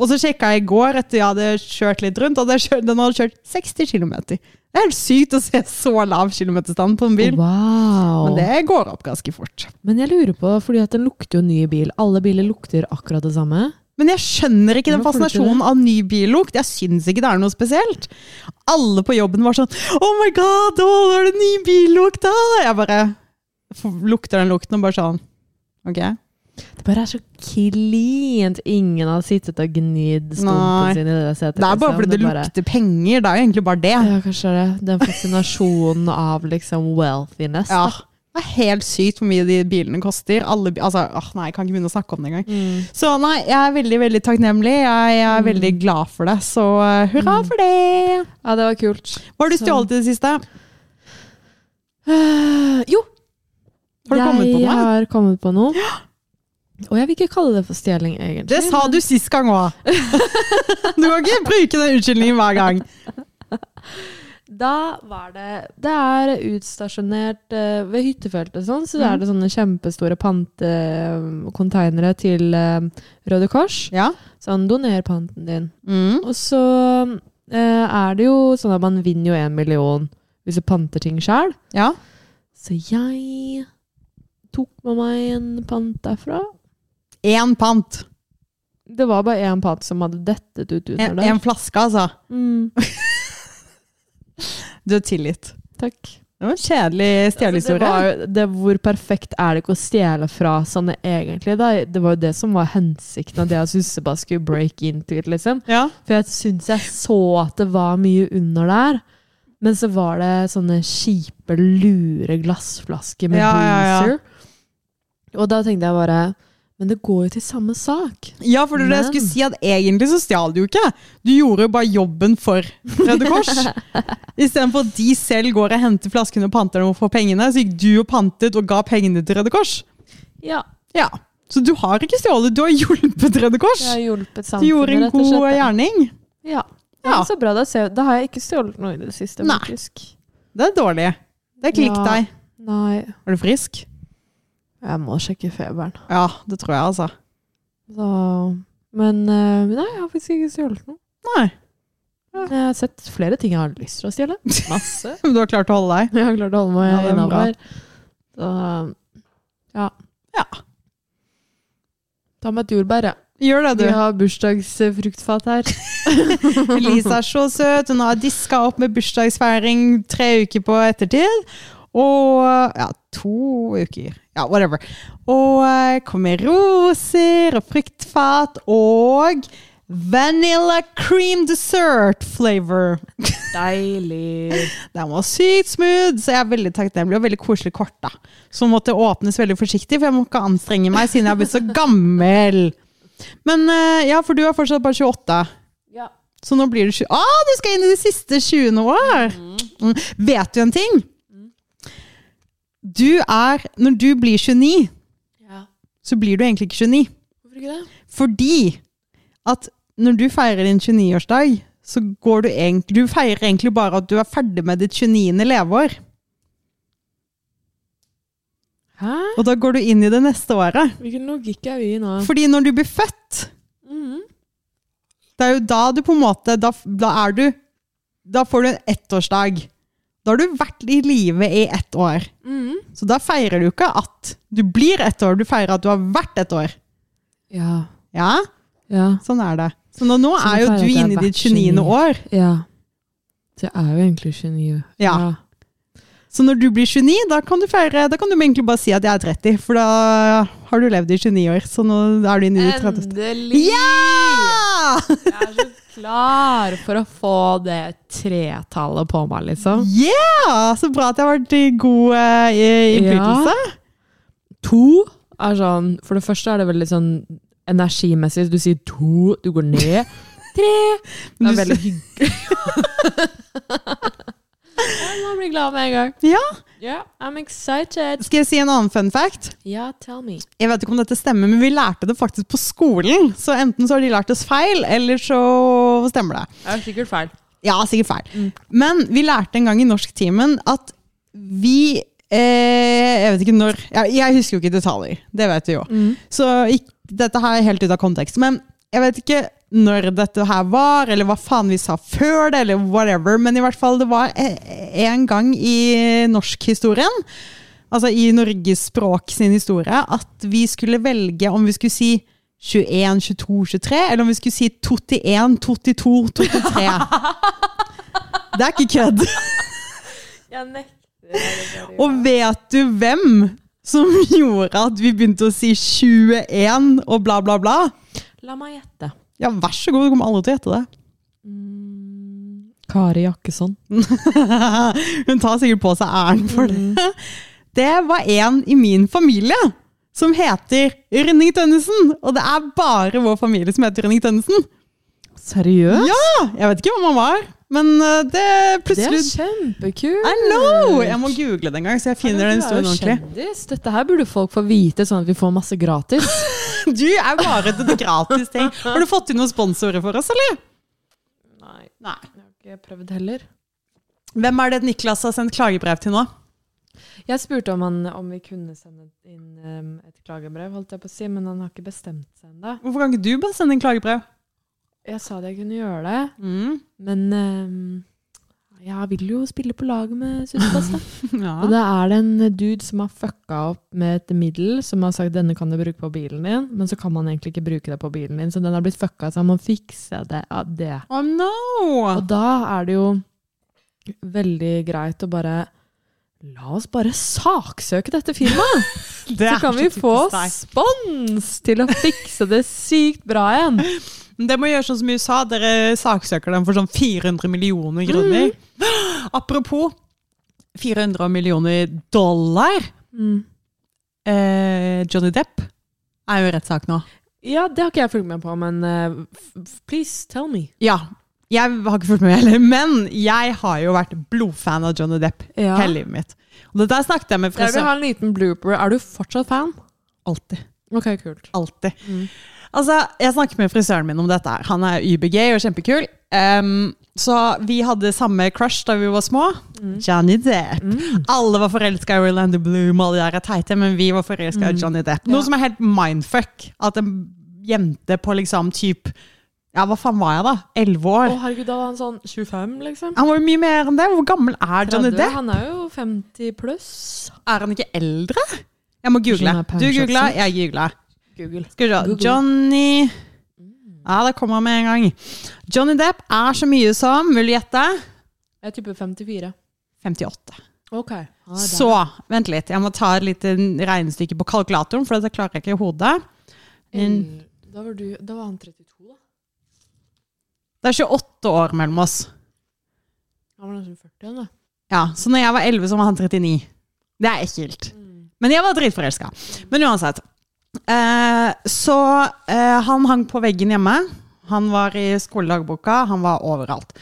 Og så sjekka jeg i går etter jeg hadde kjørt litt rundt, og hadde jeg kjørt, den hadde kjørt 60 km. Det er helt sykt å se så lav kilometerstand på en bil.
Wow.
Men det går opp ganske fort.
Men jeg lurer på, fordi at den lukter jo ny bil. Alle biler lukter akkurat det samme.
Men jeg skjønner ikke den
Hvorfor ikke
fascinasjonen av ny billukt. Jeg syns ikke det er noe spesielt. Alle på jobben var sånn Oh my god, å, nå er det ny billukt, da! Jeg bare f- lukter den lukten og bare sånn OK.
Det bare er så klint. Ingen har sittet og gnidd stumpen
Nei.
sin i det setet.
Det er bare
liksom.
fordi det
bare-
lukter penger. Det er jo egentlig bare det.
Ja, kanskje det. Den fascinasjonen av liksom wealthiness.
Ja.
da.
Det er helt sykt hvor mye de bilene koster. Alle, bi- altså, åh, nei, jeg kan ikke begynne å snakke om det engang.
Mm.
Så nei, jeg er veldig veldig takknemlig. Jeg, jeg er veldig glad for det. Så eh, hurra for det!
ja, det var kult.
Hva har du
Mm. Så-
stjålet i det siste?
Eh, jo!
Har du kommet på noe?
Jeg har kommet på noe. Og jeg vil ikke kalle det for stjeling, egentlig.
Det sa du sist gang òg! du kan ikke bruke den unnskyldningen hver gang.
Da var det Det er utstasjonert eh, ved hyttefeltet, og sånn, så er det
Mhm.
sånne kjempestore pantekonteinere til eh, Røde Kors.
Ja.
Sånn, doner panten din.
Mm.
Og så eh, er det jo sånn at man vinner jo en million hvis du panter ting sjøl.
ja.
Så jeg tok med meg en pant derfra.
Én pant.
Det var bare én pant som hadde dettet ut under
En,
der.
en flaske, altså.
Mm,
Du er tilgitt.
takk.
Det var en kjedelig
Altså,
stjelehistorie.
det var jo- det, hvor perfekt er det ikke å stjele fra sånne egentlig? Da? Det var jo det som var hensikten, at jeg og Susse bare skulle break into it, liksom.
ja.
For jeg syns jeg så at det var mye under der. Men så var det sånne kjipe, lure glassflasker med
Ja, ja, ja.
bruiser. Og da tenkte jeg bare Men det går jo til samme sak.
Ja, for det er det jeg
Men-
skulle si at egentlig så stjal du jo ikke. Du gjorde jo bare jobben for Røde Kors. Istedenfor at de selv går og henter flaskene og panter dem og får pengene, så gikk du og pantet og ga pengene til Røde Kors.
Ja.
Ja, Så du har ikke stjålet, du har hjulpet Røde Kors.
Jeg har hjulpet
Du gjorde
samfunnet,
en
rett og
god
slett.
gjerning.
Ja.
Ja.
Men Så bra. Da, ser, da har jeg ikke stjålet noe i det siste,
Nei.
faktisk.
Det er dårlig. Det er klikk
Ja.
deg.
Nei.
Er du frisk?
Jeg må sjekke feberen.
Ja, det tror jeg, altså.
Så. Men eh, nei, jeg har faktisk ikke stjålet noe.
Nei.
Jeg har sett flere ting jeg har lyst til å stjele. Masse.
Men du har klart å holde deg.
Jeg har klart å holde meg
Ja, det er bra.
innafor. Så ja.
Ja.
Ta med et jordbær, ja.
Gjør det,
Vi
du.
har bursdagsfruktfat her.
Elise er så søt. Hun har diska opp med bursdagsfeiring tre uker på ettertid. Og Ja, to uker. Ja, whatever. Og eh, kom med roser og fruktfat og vanilla cream dessert flavor.
Deilig.
Den var sykt smooth, så jeg er veldig takknemlig og veldig koselig kort. da. Som måtte åpnes veldig forsiktig, for jeg må ikke anstrenge meg siden jeg har blitt så gammel. Men eh, ja, for du er fortsatt bare 28.
Ja.
Så nå blir du 20 Ah, du skal inn i de siste 20 år! Mm. Vet du en ting? Du er Når du blir 29,
ja.
så blir du egentlig ikke 29.
Hvorfor ikke det?
Fordi at når du feirer din 29-årsdag, så går du egentlig Du feirer egentlig bare at du er ferdig med ditt 29. leveår.
Hæ?
Og da går du inn i det neste året.
Hvilken logikk er vi i nå?
Fordi når du blir født,
Mhm.
det er jo da du på en måte Da, da er du Da får du en ettårsdag. Da har du vært i live i ett år.
Mhm.
Så da feirer du ikke at du blir ett år, du feirer at du har vært ett år.
Ja.
Ja,
Ja.
sånn er det. Så nå, nå
Så du
er jo
feirer
du
at jeg har
inne i ditt
vært 29.
29. år.
Ja. Det er jo egentlig 29.
Ja. Så når du blir 29, da kan du feire Da kan du egentlig bare si at jeg er 30, for da har du levd i 29 år. Så nå er du inne i ditt 30.
Endelig!
Ja!
Jeg er så klar for å få det tretallet på meg, liksom.
Ja! Så bra at jeg har vært i god eh, i- innflytelse.
To er sånn For det første er det veldig sånn energimessig. Du sier to, du går ned. Tre! Det
Men
er
du-
veldig hyggelig. Jeg må bli glad med en gang.
Ja.
Yeah, I'm excited.
Skal jeg si en annen fun fact?
Ja, tell me.
Jeg vet ikke om dette stemmer, men vi lærte det faktisk på skolen. Så enten så har de lært oss feil, eller så stemmer det.
Det er sikkert feil.
Ja, sikkert feil. Men vi lærte en gang i norsktimen at vi eh, Jeg vet ikke når ja, Jeg husker jo ikke detaljer. Det vet vi jo. Så ikk- dette her er helt ut av kontekst. Men jeg vet ikke når dette her var, eller hva faen vi sa før det, eller whatever. Men i hvert fall, det var eh, en gang i norskhistorien, altså i Norges språk sin historie, at vi skulle velge om vi skulle si 21, 22, 23, eller om vi skulle si 21, 22, 23. Det er ikke kødd.
Jeg nekter.
Og vet du hvem som gjorde at vi begynte å si 21 og bla, bla, bla?
La meg gjette.
Ja, vær så god, kommer alle til å gjette det.
Kari Jakkesson.
Hun tar sikkert på seg æren for det.
Mm.
Det var en i min familie som heter Rønning Tønnesen. Og det er bare vår familie som heter Rønning Tønnesen.
Seriøst?
Ja, jeg vet ikke hvem han var, men eh, det
Det er
plutselig
kjempekult!
I know! Jeg må google det en gang, så jeg finner den historien ordentlig.
Kjendis. Dette her burde folk få vite, sånn at vi får masse gratis.
Du er bare til det gratis ting. Har du fått inn noen sponsorer for oss, eller?
Nei,
Nei.
jeg har ikke prøvd heller.
Hvem er det Niklas har sendt klagebrev til nå?
Jeg spurte om, han, om vi kunne sende inn um, et klagebrev, holdt jeg på å si, men han har ikke bestemt seg ennå.
Hvorfor kan ikke du bare sende inn klagebrev?
Jeg sa at jeg kunne gjøre det,
Mm.
men um, jeg vil jo spille på lag med Sustas, da.
Ja.
Og da er det en dude som har fucka opp med et middel som har sagt 'denne kan du bruke på bilen din', men så kan man egentlig ikke bruke det på bilen din, så den har blitt fucka, så han må fikse det av det.
Oh no!
Og da er det jo veldig greit å bare La oss bare saksøke dette firmaet!
Det
Så
er
kan
så
vi
typisk
få
deg.
spons til å fikse det sykt bra igjen!
Men Det må gjøre sånn som i USA. Dere saksøker dem for sånn 400 millioner kroner.
Mm.
Apropos 400 millioner dollar.
Mm.
Eh, Johnny Depp er jo rettssak nå.
Ja, det har ikke jeg fulgt med på, men eh, f- f- please tell me.
Ja. Jeg har ikke fulgt med heller, men jeg har jo vært blodfan av Johnny Depp
Ja.
hele livet mitt. Og det der snakket jeg med
Jeg vil
frisør
ha en liten blooper. Er du fortsatt fan?
Alltid.
Ok, kult.
Alltid. Altså, jeg snakket med frisøren min om dette. her. Han er übergay og kjempekul. Ehm, så vi hadde samme crush da vi var små. Johnny Depp.
Mm.
Alle var forelska i Orlando Bloom, alle de der er teite, men vi var forelska i Johnny Depp. Noe
Mm. Ja.
som er helt mindfuck. At en jente på liksom typ Ja, hva faen var jeg da? Elleve år?
Å herregud, da var han sånn 25, liksom.
Han var jo mye mer enn det. Hvor gammel er Johnny
30,
Depp?
Han er sånn jo 50 pluss.
Er han ikke eldre? Jeg må google.
Skjønner jeg
Du
pensjonsen.
googla, jeg googla.
Google.
Skal vi se.
Google.
Johnny
Mm.
Ja, det kommer han med en gang. Johnny Depp er så mye som, vil du gjette,
Jeg tipper 54.
58.
Ok. Ah, der.
Så, vent litt. Jeg må ta et lite regnestykke på kalkulatoren, for det klarer jeg ikke i hodet.
Mm. Da var, du, da var han 32, da.
Det er 28 år mellom oss.
Han var nesten 40, han da.
Ja, Så når jeg var 11, så var han 39. Det er ekkelt.
Mm.
Men jeg var dritforelska. Men uansett. Eh, så eh, han hang på veggen hjemme. Han var i skoledagboka, han var overalt.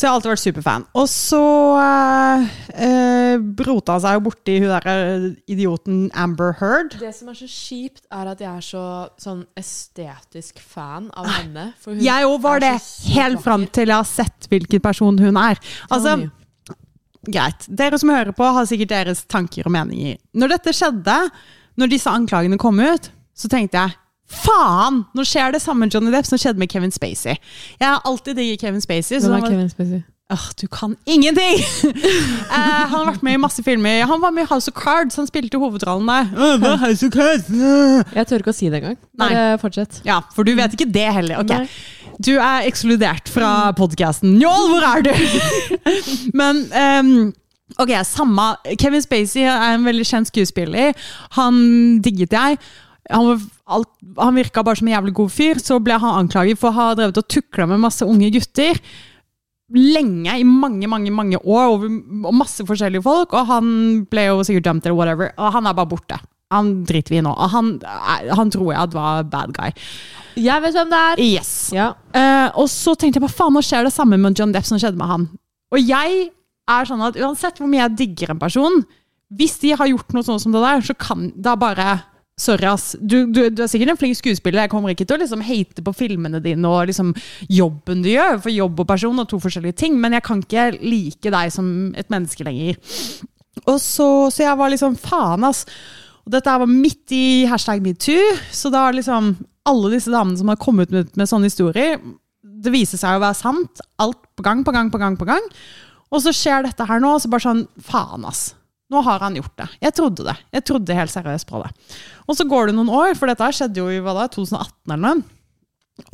Så jeg har alltid vært superfan. Og så eh, eh, rota han seg jo borti hun der eh, idioten Amber Heard.
Det som er så kjipt, er at jeg er så sånn estetisk fan av henne. For hun
Jeg òg var
er
det
så sykt
helt fram
vakker.
til jeg har sett hvilken person hun er. Altså,
me.
greit. Dere som hører på, har sikkert deres tanker og meninger. Når dette skjedde, når disse anklagene kom ut, så tenkte jeg faen! Nå skjer det samme med Johnny Depp som skjedde med Kevin Spacey. Jeg har alltid digget Kevin Spacey. så
Hvem
han
er
var-
Kevin Spacey?
Åh, du kan ingenting! Eh, han har vært med i masse filmer. Han var med i House of Cards. Han spilte hovedrollen der. Åh, hva er House of Cards? Åh.
Jeg tør ikke å si det engang. Bare fortsett.
Ja, for du vet ikke det heller. Ok.
Nei.
Du er ekskludert fra podkasten. Njål, hvor er du? Men ehm, ok, samme. Kevin Spacey er en veldig kjent skuespiller. Han digget jeg. Han, var alt, han virka bare som en jævlig god fyr. Så ble han anklaget for å ha drevet og tukla med masse unge gutter. Lenge, i mange mange, mange år, over og masse forskjellige folk. Og han ble jo sikkert dømt, eller whatever. Og han er bare borte. Han driter vi i nå. Og han, eh, han tror jeg var bad guy.
Jeg vet hvem det er!
Yes.
Ja.
Eh, og så tenkte jeg bare, faen, nå skjer det samme med John Depp som skjedde med han. Og jeg er sånn at uansett hvor mye jeg digger en person, hvis de har gjort noe sånn som det der, så kan da bare Sorry, ass. Du, du, du er sikkert en flink skuespiller. Jeg kommer ikke til å liksom hate på filmene dine og liksom jobben du gjør, for jobb og person og to forskjellige ting, men jeg kan ikke like deg som et menneske lenger. Og så, så jeg var liksom, faen ass. Og dette her var midt i hashtag metoo, så da er liksom alle disse damene som har kommet ut med sånne historier, det viser seg å være sant, alt på gang, på gang, på gang, på gang. Og så skjer dette her nå, og så bare sånn, faen ass. Nå har han gjort det. Jeg trodde det. Jeg trodde helt seriøst på det. Og så går det noen år, for dette her skjedde jo i hva da, 2018 eller noe.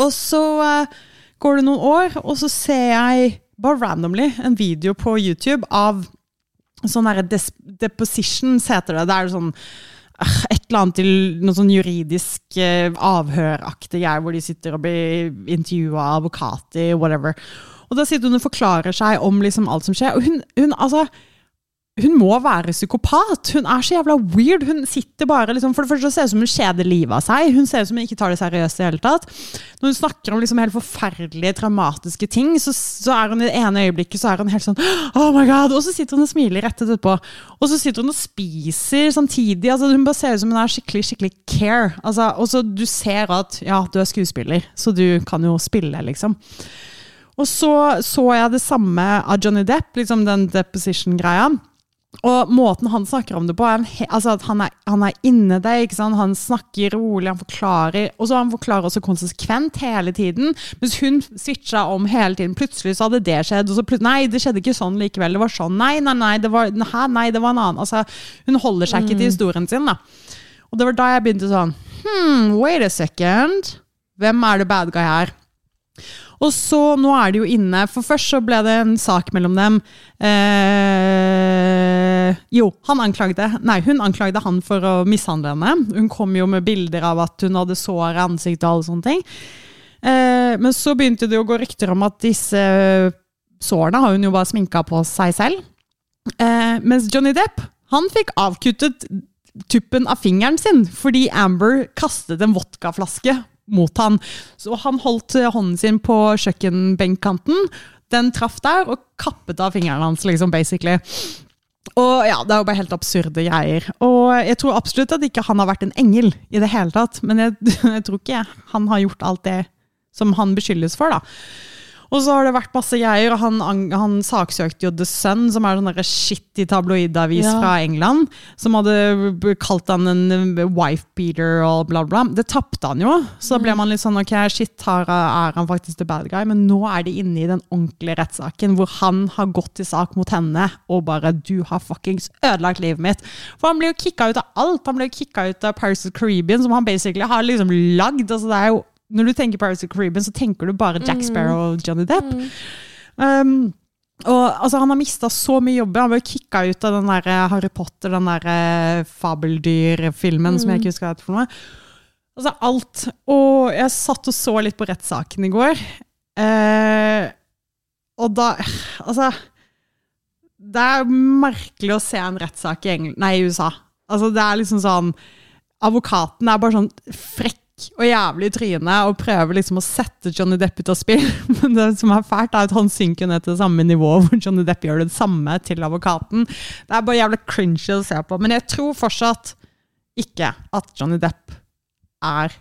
Og så eh, går det noen år, og så ser jeg bare randomly en video på YouTube av sånn derre des- depositions heter det. Det er jo sånn øh, et eller annet til noe sånn juridisk eh, avhøraktig greier, hvor de sitter og blir intervjua av advokater, whatever. Og da sitter hun og forklarer seg om liksom alt som skjer. Og hun, hun altså hun må være psykopat. Hun er så jævla weird. Hun sitter bare liksom, For det første så ser det ut som hun kjeder livet av seg. Hun ser ut som hun ikke tar det seriøst i det hele tatt. Når hun snakker om liksom helt forferdelige, traumatiske ting, så, så er hun i det ene øyeblikket så er hun helt sånn Oh my god! Og så sitter hun og smiler rett etterpå. Og så sitter hun og spiser samtidig. altså Hun bare ser ut som hun er skikkelig skikkelig care. Altså, og så du ser at ja, du er skuespiller, så du kan jo spille, liksom. Og så så jeg det samme av Johnny Depp, liksom den deposition-greia. Og måten han snakker om det på, er en he altså at han er, han er inne det, ikke sant? han snakker rolig, han forklarer, og så han forklarer også konsekvent hele tiden, mens hun switcha om hele tiden. Plutselig så hadde det skjedd, og så plutselig, nei, det skjedde ikke sånn likevel, det var sånn, nei, nei, nei, det var, hæ, nei, det var en annen. Altså, hun holder seg ikke til historien sin, da. Og det var da jeg begynte sånn, hmm, wait a second, hvem er det bad guy her? Og så, nå er de jo inne, for først så ble det en sak mellom dem. Eh, jo, han anklagde, nei, hun anklagde han for å mishandle henne. Hun kom jo med bilder av at hun hadde sår i ansiktet og alle sånne ting. Eh, men så begynte det å gå rykter om at disse sårene har hun jo bare sminka på seg selv. Eh, mens Johnny Depp, han fikk avkuttet tuppen av fingeren sin fordi Amber kastet en vodkaflaske mot han. Så han holdt eh, hånden sin på kjøkkenbenkkanten. Den traff der og kappet av fingeren hans, liksom, basically. Og ja, Det er jo bare helt absurde greier. Og jeg tror absolutt at ikke han har vært en engel i det hele tatt. Men jeg, jeg tror ikke han har gjort alt det som han beskyldes for, da. Og så har det vært masse greier, og han, ang- han saksøkte jo The Sun, som er en sånn der skittig tabloidavis
Ja.
fra England, som hadde b- kalt han en eh, wife beater og bla bla. Det tappte han jo, så da ble man litt sånn, ok, shit, her er han faktisk the bad guy, men nå er de inne i den ordentlige rettssaken, hvor han har gått til sak mot henne, og bare, du har fuckings ødelagt livet mitt. For han ble jo kicka ut av alt, han ble jo kicka ut av Paris of the Caribbean, som han basically har liksom lagd, altså det er jo når du tenker Pirates of the Caribbean, så tenker du bare Jack Sparrow og Johnny Depp. Um, og, altså, han har mista så mye jobber. Han ble kicka ut av den der eh, Harry Potter, den der eh, fabeldyrfilmen som jeg ikke husker hva heter for noe. Altså alt. Og jeg satt og så litt på rettssaken i går. Eh, og da Altså Det er merkelig å se en rettssak i, Engl- nei, i USA. Altså, det er liksom sånn advokaten er bare sånn frekk og jævlig i trynet og prøver liksom å sette Johnny Depp ut av spill. Men det som er fælt, er at han synker ned til det samme nivået hvor Johnny Depp gjør det samme til advokaten. Det er bare jævla cringy å se på. Men jeg tror fortsatt ikke at Johnny Depp er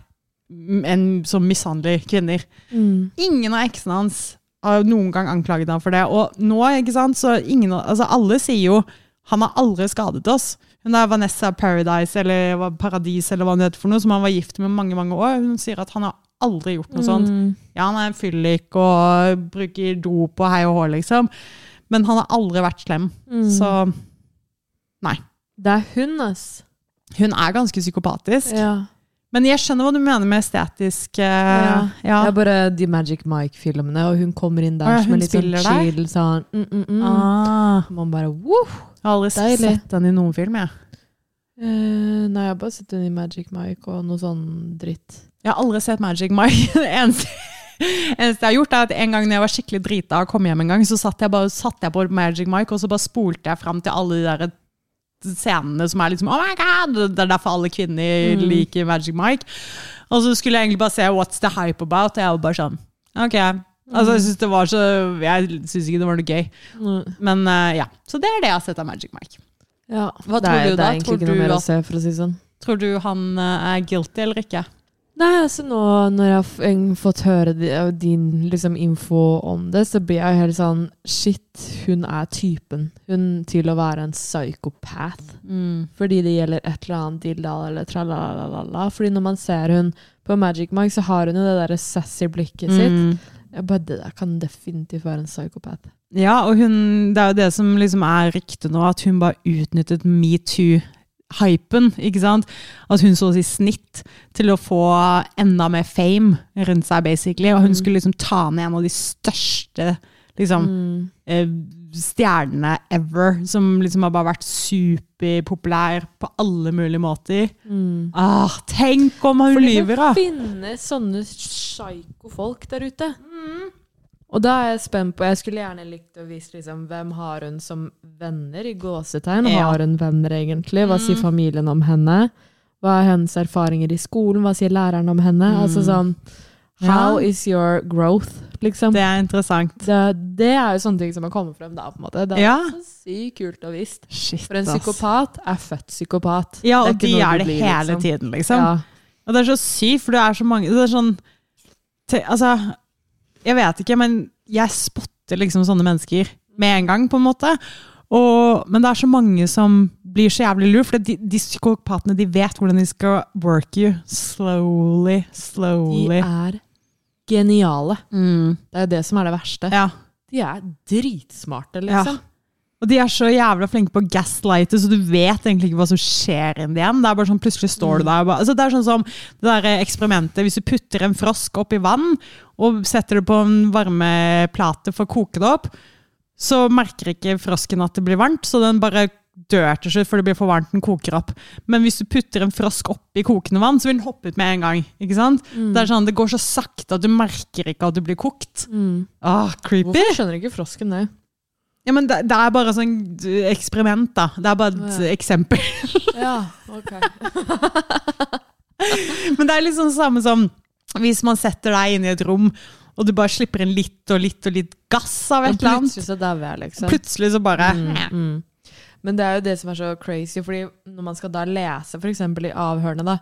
en som mishandler kvinner.
Mm.
Ingen av eksene hans har noen gang anklaget ham for det. Og nå, ikke sant, så ingen, av- altså alle sier jo han har aldri skadet oss. Hun er Vanessa Paradise, eller hva- Paradis, eller hva hun heter for noe, som han var gift med mange, mange år. Hun sier at han har aldri gjort noe
Mm.
sånt. Ja, han er en fyllik og bruker dop og hei og hå, liksom. Men han har aldri vært slem.
Mm.
Så nei.
Det er hun, ass.
Hun er ganske psykopatisk.
Ja.
Men jeg skjønner hva du mener med estetisk eh,
Ja.
ja.
Det er bare de Magic Mike-filmene, og hun kommer inn
Å
der
ja,
som
hun
en litt sånn
spiller der?
chill sånn mm, mm, mm.
Ah,
Man bare woof!
jeg har aldri
Deilig.
sett den i noen film, jeg.
Eh, nei, jeg har bare sett henne i Magic Mike og noe sånn dritt.
Jeg har aldri sett Magic Mike. Det eneste, eneste jeg har gjort, er at en gang når jeg var skikkelig drita og kom hjem en gang, så satt jeg, bare, satt jeg på Magic Mike, og så bare spolte jeg fram til alle de der eh, scenene som er liksom Oh my god! Det er derfor alle kvinner liker Magic Mike. Og så skulle jeg egentlig bare se What's the hype about? Og jeg var bare sånn OK. Altså, jeg syns det var så Jeg syns ikke det var noe gøy. Men eh, ja. Så det er det jeg har sett av Magic Mike.
Ja.
Hva
det
tror
er,
du
det
da?
er egentlig
Tror
ikke noe
du
mer
at-
å se, for å si det sånn.
Tror du han eh, er guilty eller ikke?
Nei, altså nå når jeg har f- en- fått høre di- av din liksom, info om det, så blir jeg helt sånn Shit, hun er typen. Hun til å være en psykopat.
Mm.
fordi det gjelder et eller annet dildal eller tralalalala. Fordi når man ser hun på Magic Mike, så har hun jo det derre sassy blikket sitt.
Mm.
Jeg bare, det der kan definitivt være en psykopat.
Ja, og hun, det er jo det som liksom er ryktet nå, at hun bare utnyttet metoo-hypen, ikke sant? At hun så å si snitt til å få enda mer fame rundt seg, basically. Og
Mm.
hun skulle liksom ta ned en av de største liksom,
Mm.
eh, stjernene ever, som liksom har bare vært superpopulær på alle mulige måter.
Mm.
Ah, tenk om hun lyver, da!
Det finnes sånne psykofolk der ute. Og da er jeg spent på Jeg skulle gjerne likt å vise liksom, hvem har hun som venner, i gåsetegn.
Ja. Mm.
Har hun venner, egentlig? Hva sier familien om henne? Hva er hennes erfaringer i skolen? Hva sier læreren om henne? Altså sånn How
Mm. Ja.
is your growth, liksom?
Det er interessant.
det, det er jo sånne ting som har kommet frem da, på en måte. Det er
Ja.
så sykt kult å visst.
Shit,
For en
ass.
psykopat er født psykopat.
Ja,
Det
og
ikke
de
noe du
er det
blir,
hele
liksom.
tiden, liksom.
Ja.
Og det er så sykt, for det er så mange Det er sånn te, Altså, jeg vet ikke, men jeg spotter liksom sånne mennesker med en gang, på en måte. Og, men det er så mange som blir så jævlig lurt, for de, de psykopatene de vet hvordan de skal work you. Slowly,
De
slowly.
er geniale. Det er jo det som er det verste.
Ja.
De er
Ja.
dritsmarte, liksom.
Og de er så jævla flinke på å gaslighte, så du vet egentlig ikke hva som skjer inni en. Det er bare sånn, plutselig står du der. og Bare, altså, det er sånn som det der eksperimentet, hvis du putter en frosk opp i vann, og setter det på en varmeplate for å koke det opp, så merker ikke frosken at det blir varmt, så den bare dør til slutt, for det blir for varmt, den koker opp. Men hvis du putter en frosk opp i kokende vann, så vil den hoppe ut med en gang. ikke sant?
Mm.
Det er sånn, det går så
Mm.
sakte at du merker ikke at du blir kokt. Ah, creepy!
Hvorfor skjønner ikke frosken det?
Ja, men det, det er bare sånn d- eksperiment, da. Det er bare et
Ja.
eksempel.
Ja, ok.
Men det er liksom samme som hvis man setter deg inn i et rom, og du bare slipper inn litt og litt og litt gass av et eller annet.
Plutselig så dauer jeg, liksom.
Plutselig så bare
Mm. Men det er jo det som er så crazy, fordi når man skal da lese for eksempel i avhørene da,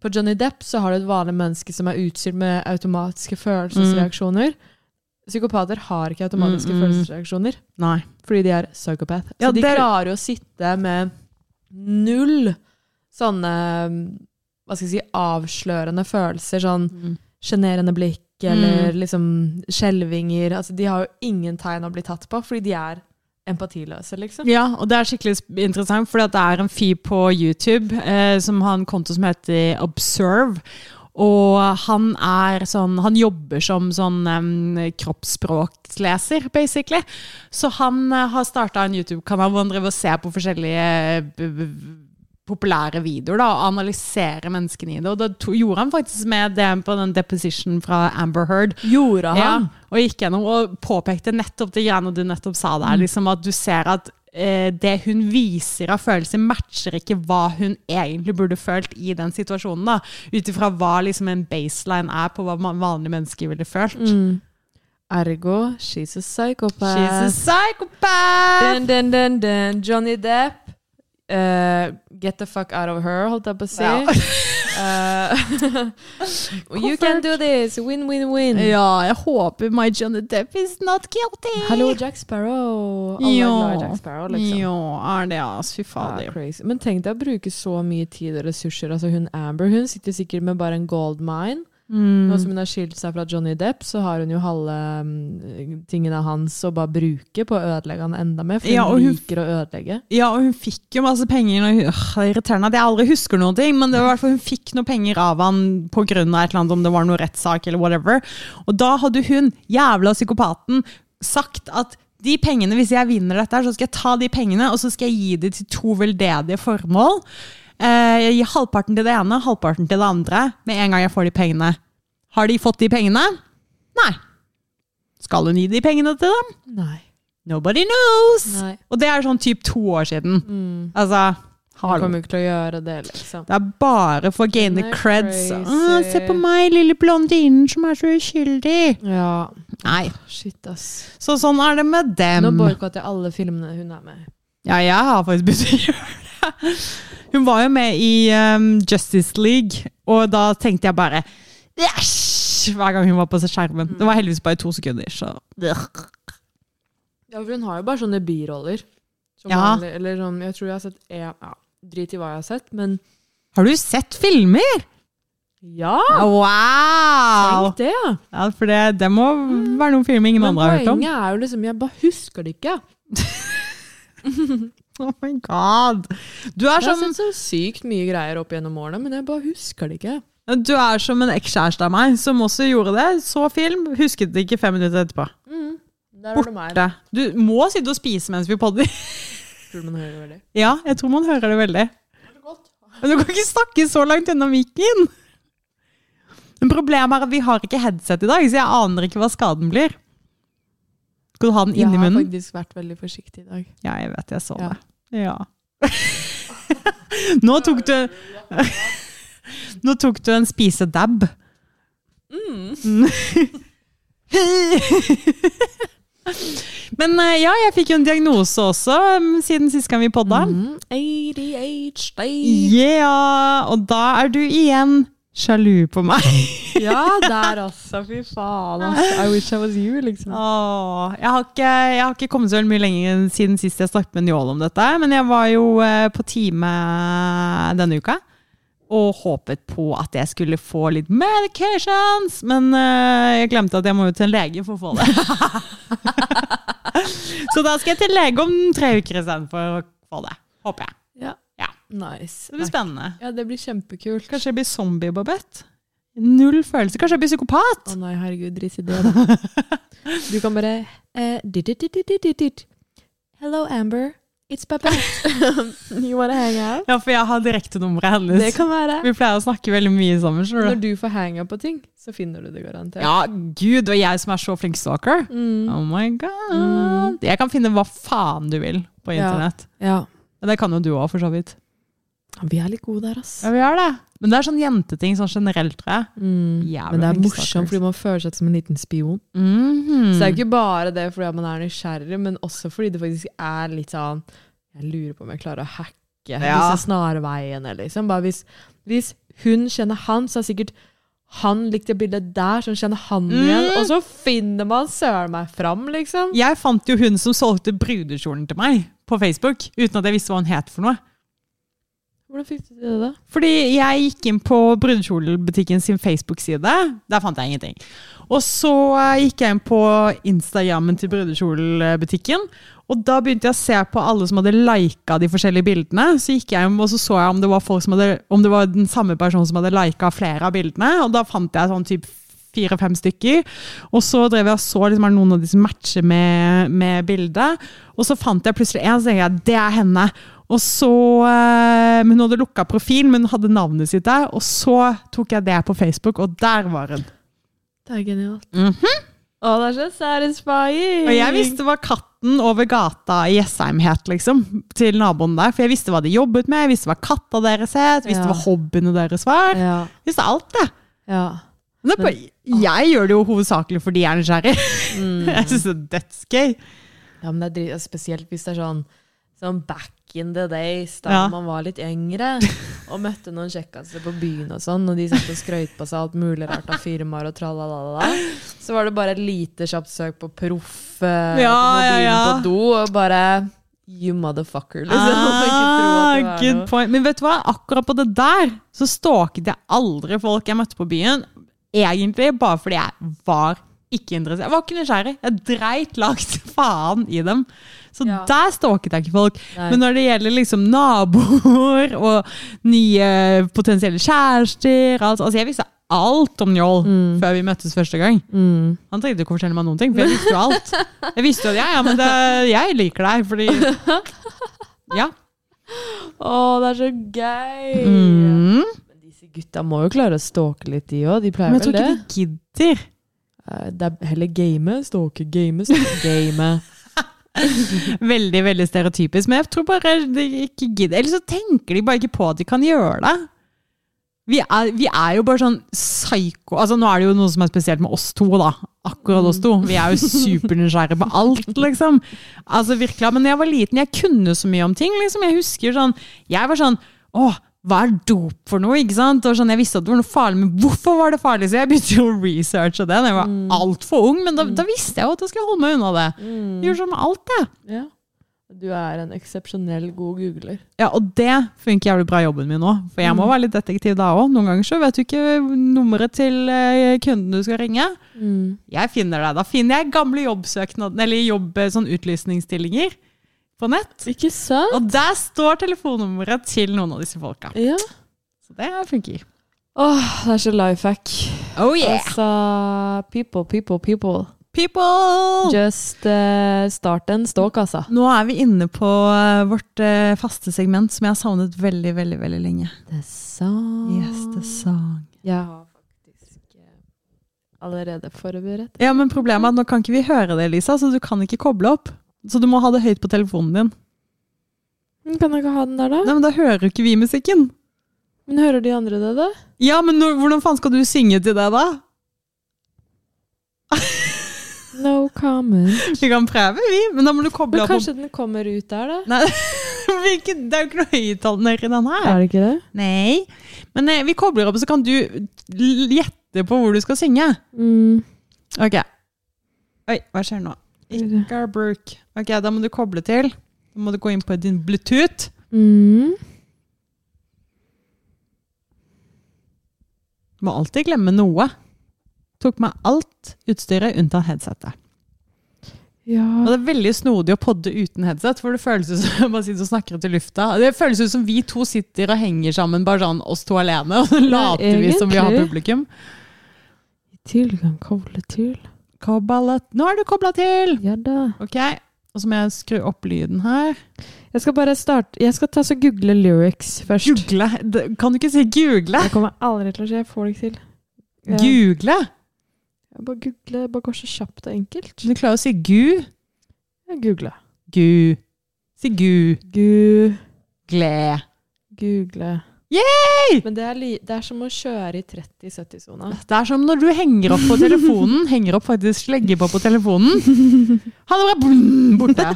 på Johnny Depp så har du et vanlig menneske som er utstyrt med automatiske følelsesreaksjoner. Psykopater har ikke automatiske
Mm, mm.
følelsesreaksjoner,
Nei.
fordi de er psykopat. Så
Ja,
de
det er-
klarer jo å sitte med null sånne, um, hva skal jeg si, avslørende følelser, sånn sjenerende blikk, eller
Mm.
liksom skjelvinger. Altså, de har jo ingen tegn å bli tatt på, fordi de er empatiløse, liksom.
Ja, og det er skikkelig sp- interessant, for det er en fyr på YouTube eh, som har en konto som heter Observe. Og han er sånn Han jobber som sånn em, kroppsspråksleser, basically. Så han eh, har starta en YouTube-kanal hvor han driver og ser på forskjellige b b populære videoer da, og analyserer menneskene i det. Og det to gjorde han faktisk med det på den deposition fra Amber Heard.
Gjorde han?
Ja, og gikk gjennom og påpekte nettopp det greiene du nettopp sa
Mm.
der, liksom at du ser at eh, det hun viser av følelser, matcher ikke hva hun egentlig burde følt i den situasjonen. da, Ut ifra hva liksom en baseline er på hva man- vanlige mennesker ville følt.
Mm, Ergo, she's a psychopath.
She's a psychopath!
Dun, dun, dun, dun. Johnny Depp. eh, get the fuck out of her, holdt jeg på å si.
Ja.
Eh, you can do this. Win, win, win.
Ja, jeg håper my Johnny Depp is not guilty!
Hallo, Jack Sparrow. Alle er glad i Jack Sparrow, liksom.
Ja, er det, altså. Fy
Ja,
fader.
crazy. Men tenk deg å bruke så mye tid og ressurser. Altså hun Amber hun sitter sikkert med bare en gold mine.
Mm.
Nå som hun har skilt seg fra Johnny Depp, så har hun jo halve mm, tingene hans å bare bruke på å ødelegge han enda mer. For hun,
Ja, og hun-
liker å ødelegge.
Ja, og hun fikk jo masse penger. Når hun, øh, det er irriterende at jeg aldri husker noen ting, men det var i hvert fall hun fikk noen penger av han på grunn av et eller annet, om det var noen rettssak eller whatever. Og da hadde hun, jævla psykopaten, sagt at de pengene, hvis jeg vinner dette, her, så skal jeg ta de pengene og så skal jeg gi de til to veldedige formål. Eh, Jeg gir halvparten til det ene, halvparten til det andre, med en gang jeg får de pengene. Har de fått de pengene? Nei. Skal hun gi de pengene til dem?
Nei.
Nobody knows!
Nei.
Og det er sånn typ to år siden.
Mm.
Altså,
Hun
hallo.
kommer ikke til å gjøre det, liksom.
Det er bare for å gaine
Hun er
creds.
crazy.
Ah, se på meg, lille blondinen som er så uskyldig.
Ja,
Nei,
shit, ass.
så sånn er det med dem.
Nå boikotter jeg alle filmene hun er med i.
Ja, jeg har faktisk begynt å gjøre det. Hun var jo med i um, Justice League, og da tenkte jeg bare Æsj! Hver gang hun var på skjermen. Det var heldigvis bare to sekunder, så
Ja, for hun har jo bare sånne biroller. Som
Ja.
vanlig, eller sånn, jeg tror jeg har sett en, ja, Drit i hva jeg har sett, men
Har du sett filmer?
ja!
Wow!
Tenk det, ja.
Ja, for det, det må være noen filmer ingen
Men
andre har hørt om.
poenget er jo liksom Jeg bare husker det ikke.
Oh my god! Du er sånn-
Jeg har
som,
sett så sykt mye greier opp gjennom årene, men jeg bare husker det ikke.
du er som en ekskjæreste av meg, som også gjorde det. Så film, husket det ikke fem minutter etterpå.
Mm. Der har du meg.
Borte. Du må sitte og spise mens vi podder.
Tror du man hører det veldig?
Ja, jeg tror man hører det veldig. Men du kan ikke snakke så langt unna mikken! Men problemet er at vi har ikke headset i dag, så jeg aner ikke hva skaden blir. Skal du ha den
Jeg
inni
har
munnen?
faktisk vært veldig forsiktig i dag.
Ja, jeg vet jeg så
Ja.
det. Ja. Nå tok du Nå tok du en spisedab. Mm. Men eh, ja, jeg fikk jo en diagnose også mm, siden sist gang vi podda.
ADHD.
Yeah! Og da er du igjen sjalu på meg.
Ja, der altså. Fy faen. Altså. I wish I was you, liksom.
Åh, jeg, har ikke, jeg har ikke kommet så veldig mye lenger siden sist jeg snakket med Njål om dette, men jeg var jo eh, på time denne uka og håpet på at jeg skulle få litt medications, men eh, jeg glemte at jeg må jo til en lege for å få det. så da skal jeg til lege om tre uker istedenfor å få det, håper jeg.
Ja.
Ja.
Nice.
Det blir spennende.
Ja, det blir kjempekult.
Kanskje jeg blir zombie-Babette? Null følelse. Kanskje jeg blir psykopat?
Å nei, herregud, drit i det, da. Du kan bare eh, dit, dit, dit, dit, dit, dit. Hello, Amber. It's Peppe. you wanna hang out?
Ja, for jeg har direktenummeret
Det
hennes.
kan være.
Vi pleier å snakke veldig mye sammen. skjønner
Når
du?
du får hang out på ting, så finner du det garantert.
Ja, gud, og jeg som er så flink stalker.
Mm.
Oh my god. Jeg kan finne hva faen du vil på
Ja.
internett.
ja.
Men det kan jo du òg, for så vidt.
Vi er litt gode der, ass.
Ja, vi gjør det. Men det er sånn jenteting sånn generelt, tror jeg.
Mm.
Jævla
Men det er
flink
morsomt,
stalker.
fordi man føler seg som en liten spion.
Mhm.
Så
Mm.
det er jo ikke bare det fordi at man er nysgjerrig, men også fordi det faktisk er litt sånn Jeg lurer på om jeg klarer å hacke
Ja.
disse snarveiene, liksom. Bare hvis, hvis hun kjenner han, så har sikkert han likt det bildet der, som kjenner han
Mm.
igjen. Og så finner man søren meg fram, liksom.
Jeg fant jo hun som solgte brudekjolen til meg på Facebook, uten at jeg visste hva hun het for noe.
Hvordan fikk du til det, da?
Fordi jeg gikk inn på brudekjolebutikken sin Facebook-side. Der fant jeg ingenting. Og så eh, gikk jeg inn på Instagrammen til brudekjolebutikken. Og da begynte jeg å se på alle som hadde lika de forskjellige bildene. Så gikk jeg inn, og så så jeg om det var, folk som hadde, om det var den samme personen som hadde lika flere av bildene. Og da fant jeg sånn typ fire-fem stykker. Og så drev jeg og så liksom, er det noen av de som matcher med, med bildet. Og så fant jeg plutselig en, så tenkte jeg det er henne. Og så, eh, men Hun hadde lukka profil, men hun hadde navnet sitt der. Og så tok jeg det på Facebook, og der var hun.
Det er genialt. Å, det er så satisfying!
Mhm. Og jeg visste hva katten over gata i Jessheim het, liksom. Til naboen der. For jeg visste hva de jobbet med, jeg visste hva katta deres het, jeg visste
Ja.
hva hobbyene deres var.
Ja.
Jeg visste alt, jeg.
ja.
Men det er bare, jeg gjør det jo hovedsakelig fordi jeg er nysgjerrig. Jeg syns det er dødsgøy.
Ja, men det er drit, altså, spesielt hvis det er sånn, sånn back in the days, da
Ja.
man var litt yngre, og møtte noen kjekkaser på byen og sånn, og de satt og skrøyt på seg alt mulig rart av firmaer og tralalala, så var det bare et lite kjapt søk på proff eh,
Ja,
på mobilen
ja, ja.
på do, og bare You motherfucker, liksom. Man kan ikke tro at det
Ah,
var
good
noe.
point. Men vet du hva? Akkurat på det der så stalket jeg aldri folk jeg møtte på byen. Egentlig bare fordi jeg var ikke interessert. Jeg var ikke nysgjerrig. Jeg dreit langt faen i dem. Så
Ja.
der stalket jeg ikke folk.
Nei.
Men når det gjelder liksom naboer og nye potensielle kjærester alt, Altså, jeg visste alt om Njål før vi møttes første gang.
Mm.
Han trengte ikke å fortelle meg noen ting, for jeg visste jo alt. Jeg visste jo at ja, ja, men det, jeg liker deg, fordi Ja.
Å, det er så gøy!
Mm.
Men disse gutta må jo klare å stalke litt, de òg.
Men
De pleier
jeg tror
vel det?
ikke de gidder.
Eh, Det er heller game, stalke, game, stalke, game.
Veldig veldig stereotypisk, men jeg tror bare de ikke gidder. Eller så tenker de bare ikke på at de kan gjøre det. Vi er, vi er jo bare sånn psyko... Altså, nå er det jo noe som er spesielt med oss to, da. Akkurat oss to. Vi er jo supernysgjerrige på alt, liksom. Altså, virkelig. Men da jeg var liten, jeg kunne så mye om ting, liksom. Jeg husker sånn Jeg var sånn Å, hva er dop for noe? Ikke sant? Og sånn, jeg visste at det var noe farlig, men hvorfor var det farlig? Så jeg begynte jo å researche det da jeg var altfor ung, men da, da visste jeg jo at jeg skulle holde meg unna det.
Mm.
Jeg gjorde sånn med alt, jeg.
Ja. Du er en eksepsjonell god googler.
Ja, og det funker jævlig bra i jobben min nå. For jeg må være litt detektiv da òg. Noen ganger så vet du ikke nummeret til eh, kunden du skal ringe.
Mm.
Jeg finner deg. Da finner jeg gamle jobbsøknader, eller jobb, eh, sånn utlysningsstillinger på nett.
Ikke sant?
Og der står telefonnummeret til noen av disse folka.
Ja.
Så det funker.
Åh, det er så life hack.
Oh
Altså, people, people, people.
People!
Just eh, start en stalk, altså.
Nå er vi inne på eh, vårt eh, faste segment som jeg har savnet veldig, veldig veldig lenge.
The song.
Yes, the song.
Jeg har faktisk eh, allerede forberedt.
Ja, men problemet er at nå kan ikke vi høre det, Lisa, så du kan ikke koble opp. Så du må ha det høyt på telefonen din.
Men Kan jeg ikke ha den der, da?
Nei, men da hører jo ikke vi musikken.
Men hører de andre det, da?
Ja, men nå- hvordan faen skal du synge til det, da?
No comment.
Vi kan prøve, vi, men da må du koble
Men
opp.
kanskje den kommer ut der, da?
Nei, hvilken- det er jo ikke noe høyttaler i den her.
Er det ikke det?
Nei. Men eh, vi kobler opp, så kan du l- gjette på hvor du skal synge.
Mm.
Ok. Oi, hva skjer nå? Garbruk. Ok, da må du koble til. Da må du gå inn på din bluetooth.
Mm.
Må alltid glemme noe. Tok med alt utstyret unntatt headsetet. Og
Ja.
det er veldig snodig å podde uten headset, for det føles ut som man sitter og snakker ut i lufta. Det føles ut som vi to sitter og henger sammen, bare sånn oss to alene, og så later vi som vi har
egentlig.
publikum.
Tilgang koble til.
Koblet. Nå er du kobla til!
Ja da.
Ok, Og så må jeg skru opp lyden her.
Jeg skal bare starte Jeg skal ta så google lyrics først.
Google? Det- Kan du ikke si google?
Det kommer jeg aldri til å skje. Jeg får det ikke til. Ja.
Google?
Jeg Bare google. Bare gå så kjapt og enkelt.
Du klarer å si gu.
Jeg Google.
Gu. Si gu.
Gu...
Gle.
Google.
Yay!
Men det er, li det er som å kjøre i 30-70-sona.
Det er som når du henger opp på telefonen. Henger opp faktisk sleggebå på telefonen. Han er bare blum, borte.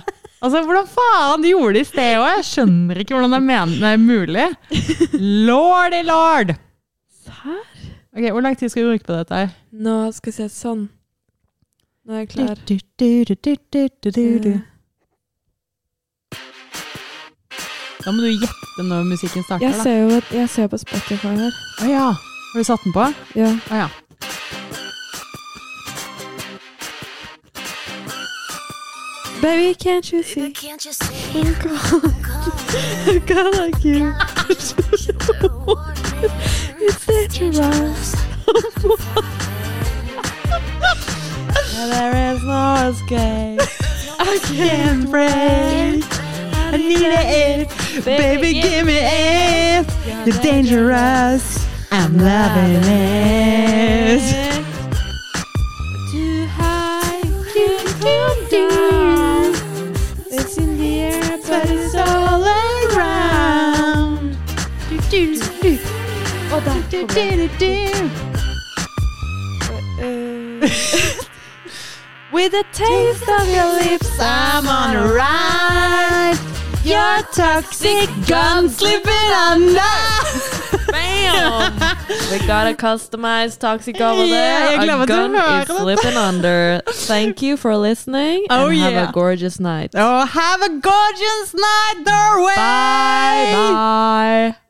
Altså, Hvordan faen de gjorde det i sted òg? Jeg skjønner ikke hvordan det er, men det er mulig. Lordy lord!
Her?
Ok, Hvor lang tid skal vi bruke på dette? her?
Nå skal vi se sånn. Nå er jeg klar. Eh,
Du, du, du, du, du, du, du, du. Da må du gjette når musikken starter.
Jeg
da.
ser jo at jeg ser på Spotify her.
Å ja. Har du satt den på?
Ah, Ja.
Å ja.
Baby, can't you see?
Can't you see?
God, like you. It's dangerous.
There is no escape. I can't break. I need it. Baby, give me it. You're dangerous. I'm loving it.
Too high, you come down. It's in the air, but it's all
around.
Og der kommer det. With a taste of your lips,
I'm on a ride. Your toxic gun slipping under.
Bam! We got a customized toxic over
Yeah,
there.
jeg glemmer
Our
til å
gun
høre
is
dette.
slipping under. Thank you for listening.
Oh,
and have
yeah.
a gorgeous night.
Oh, have a gorgeous night, Norway.
Bye.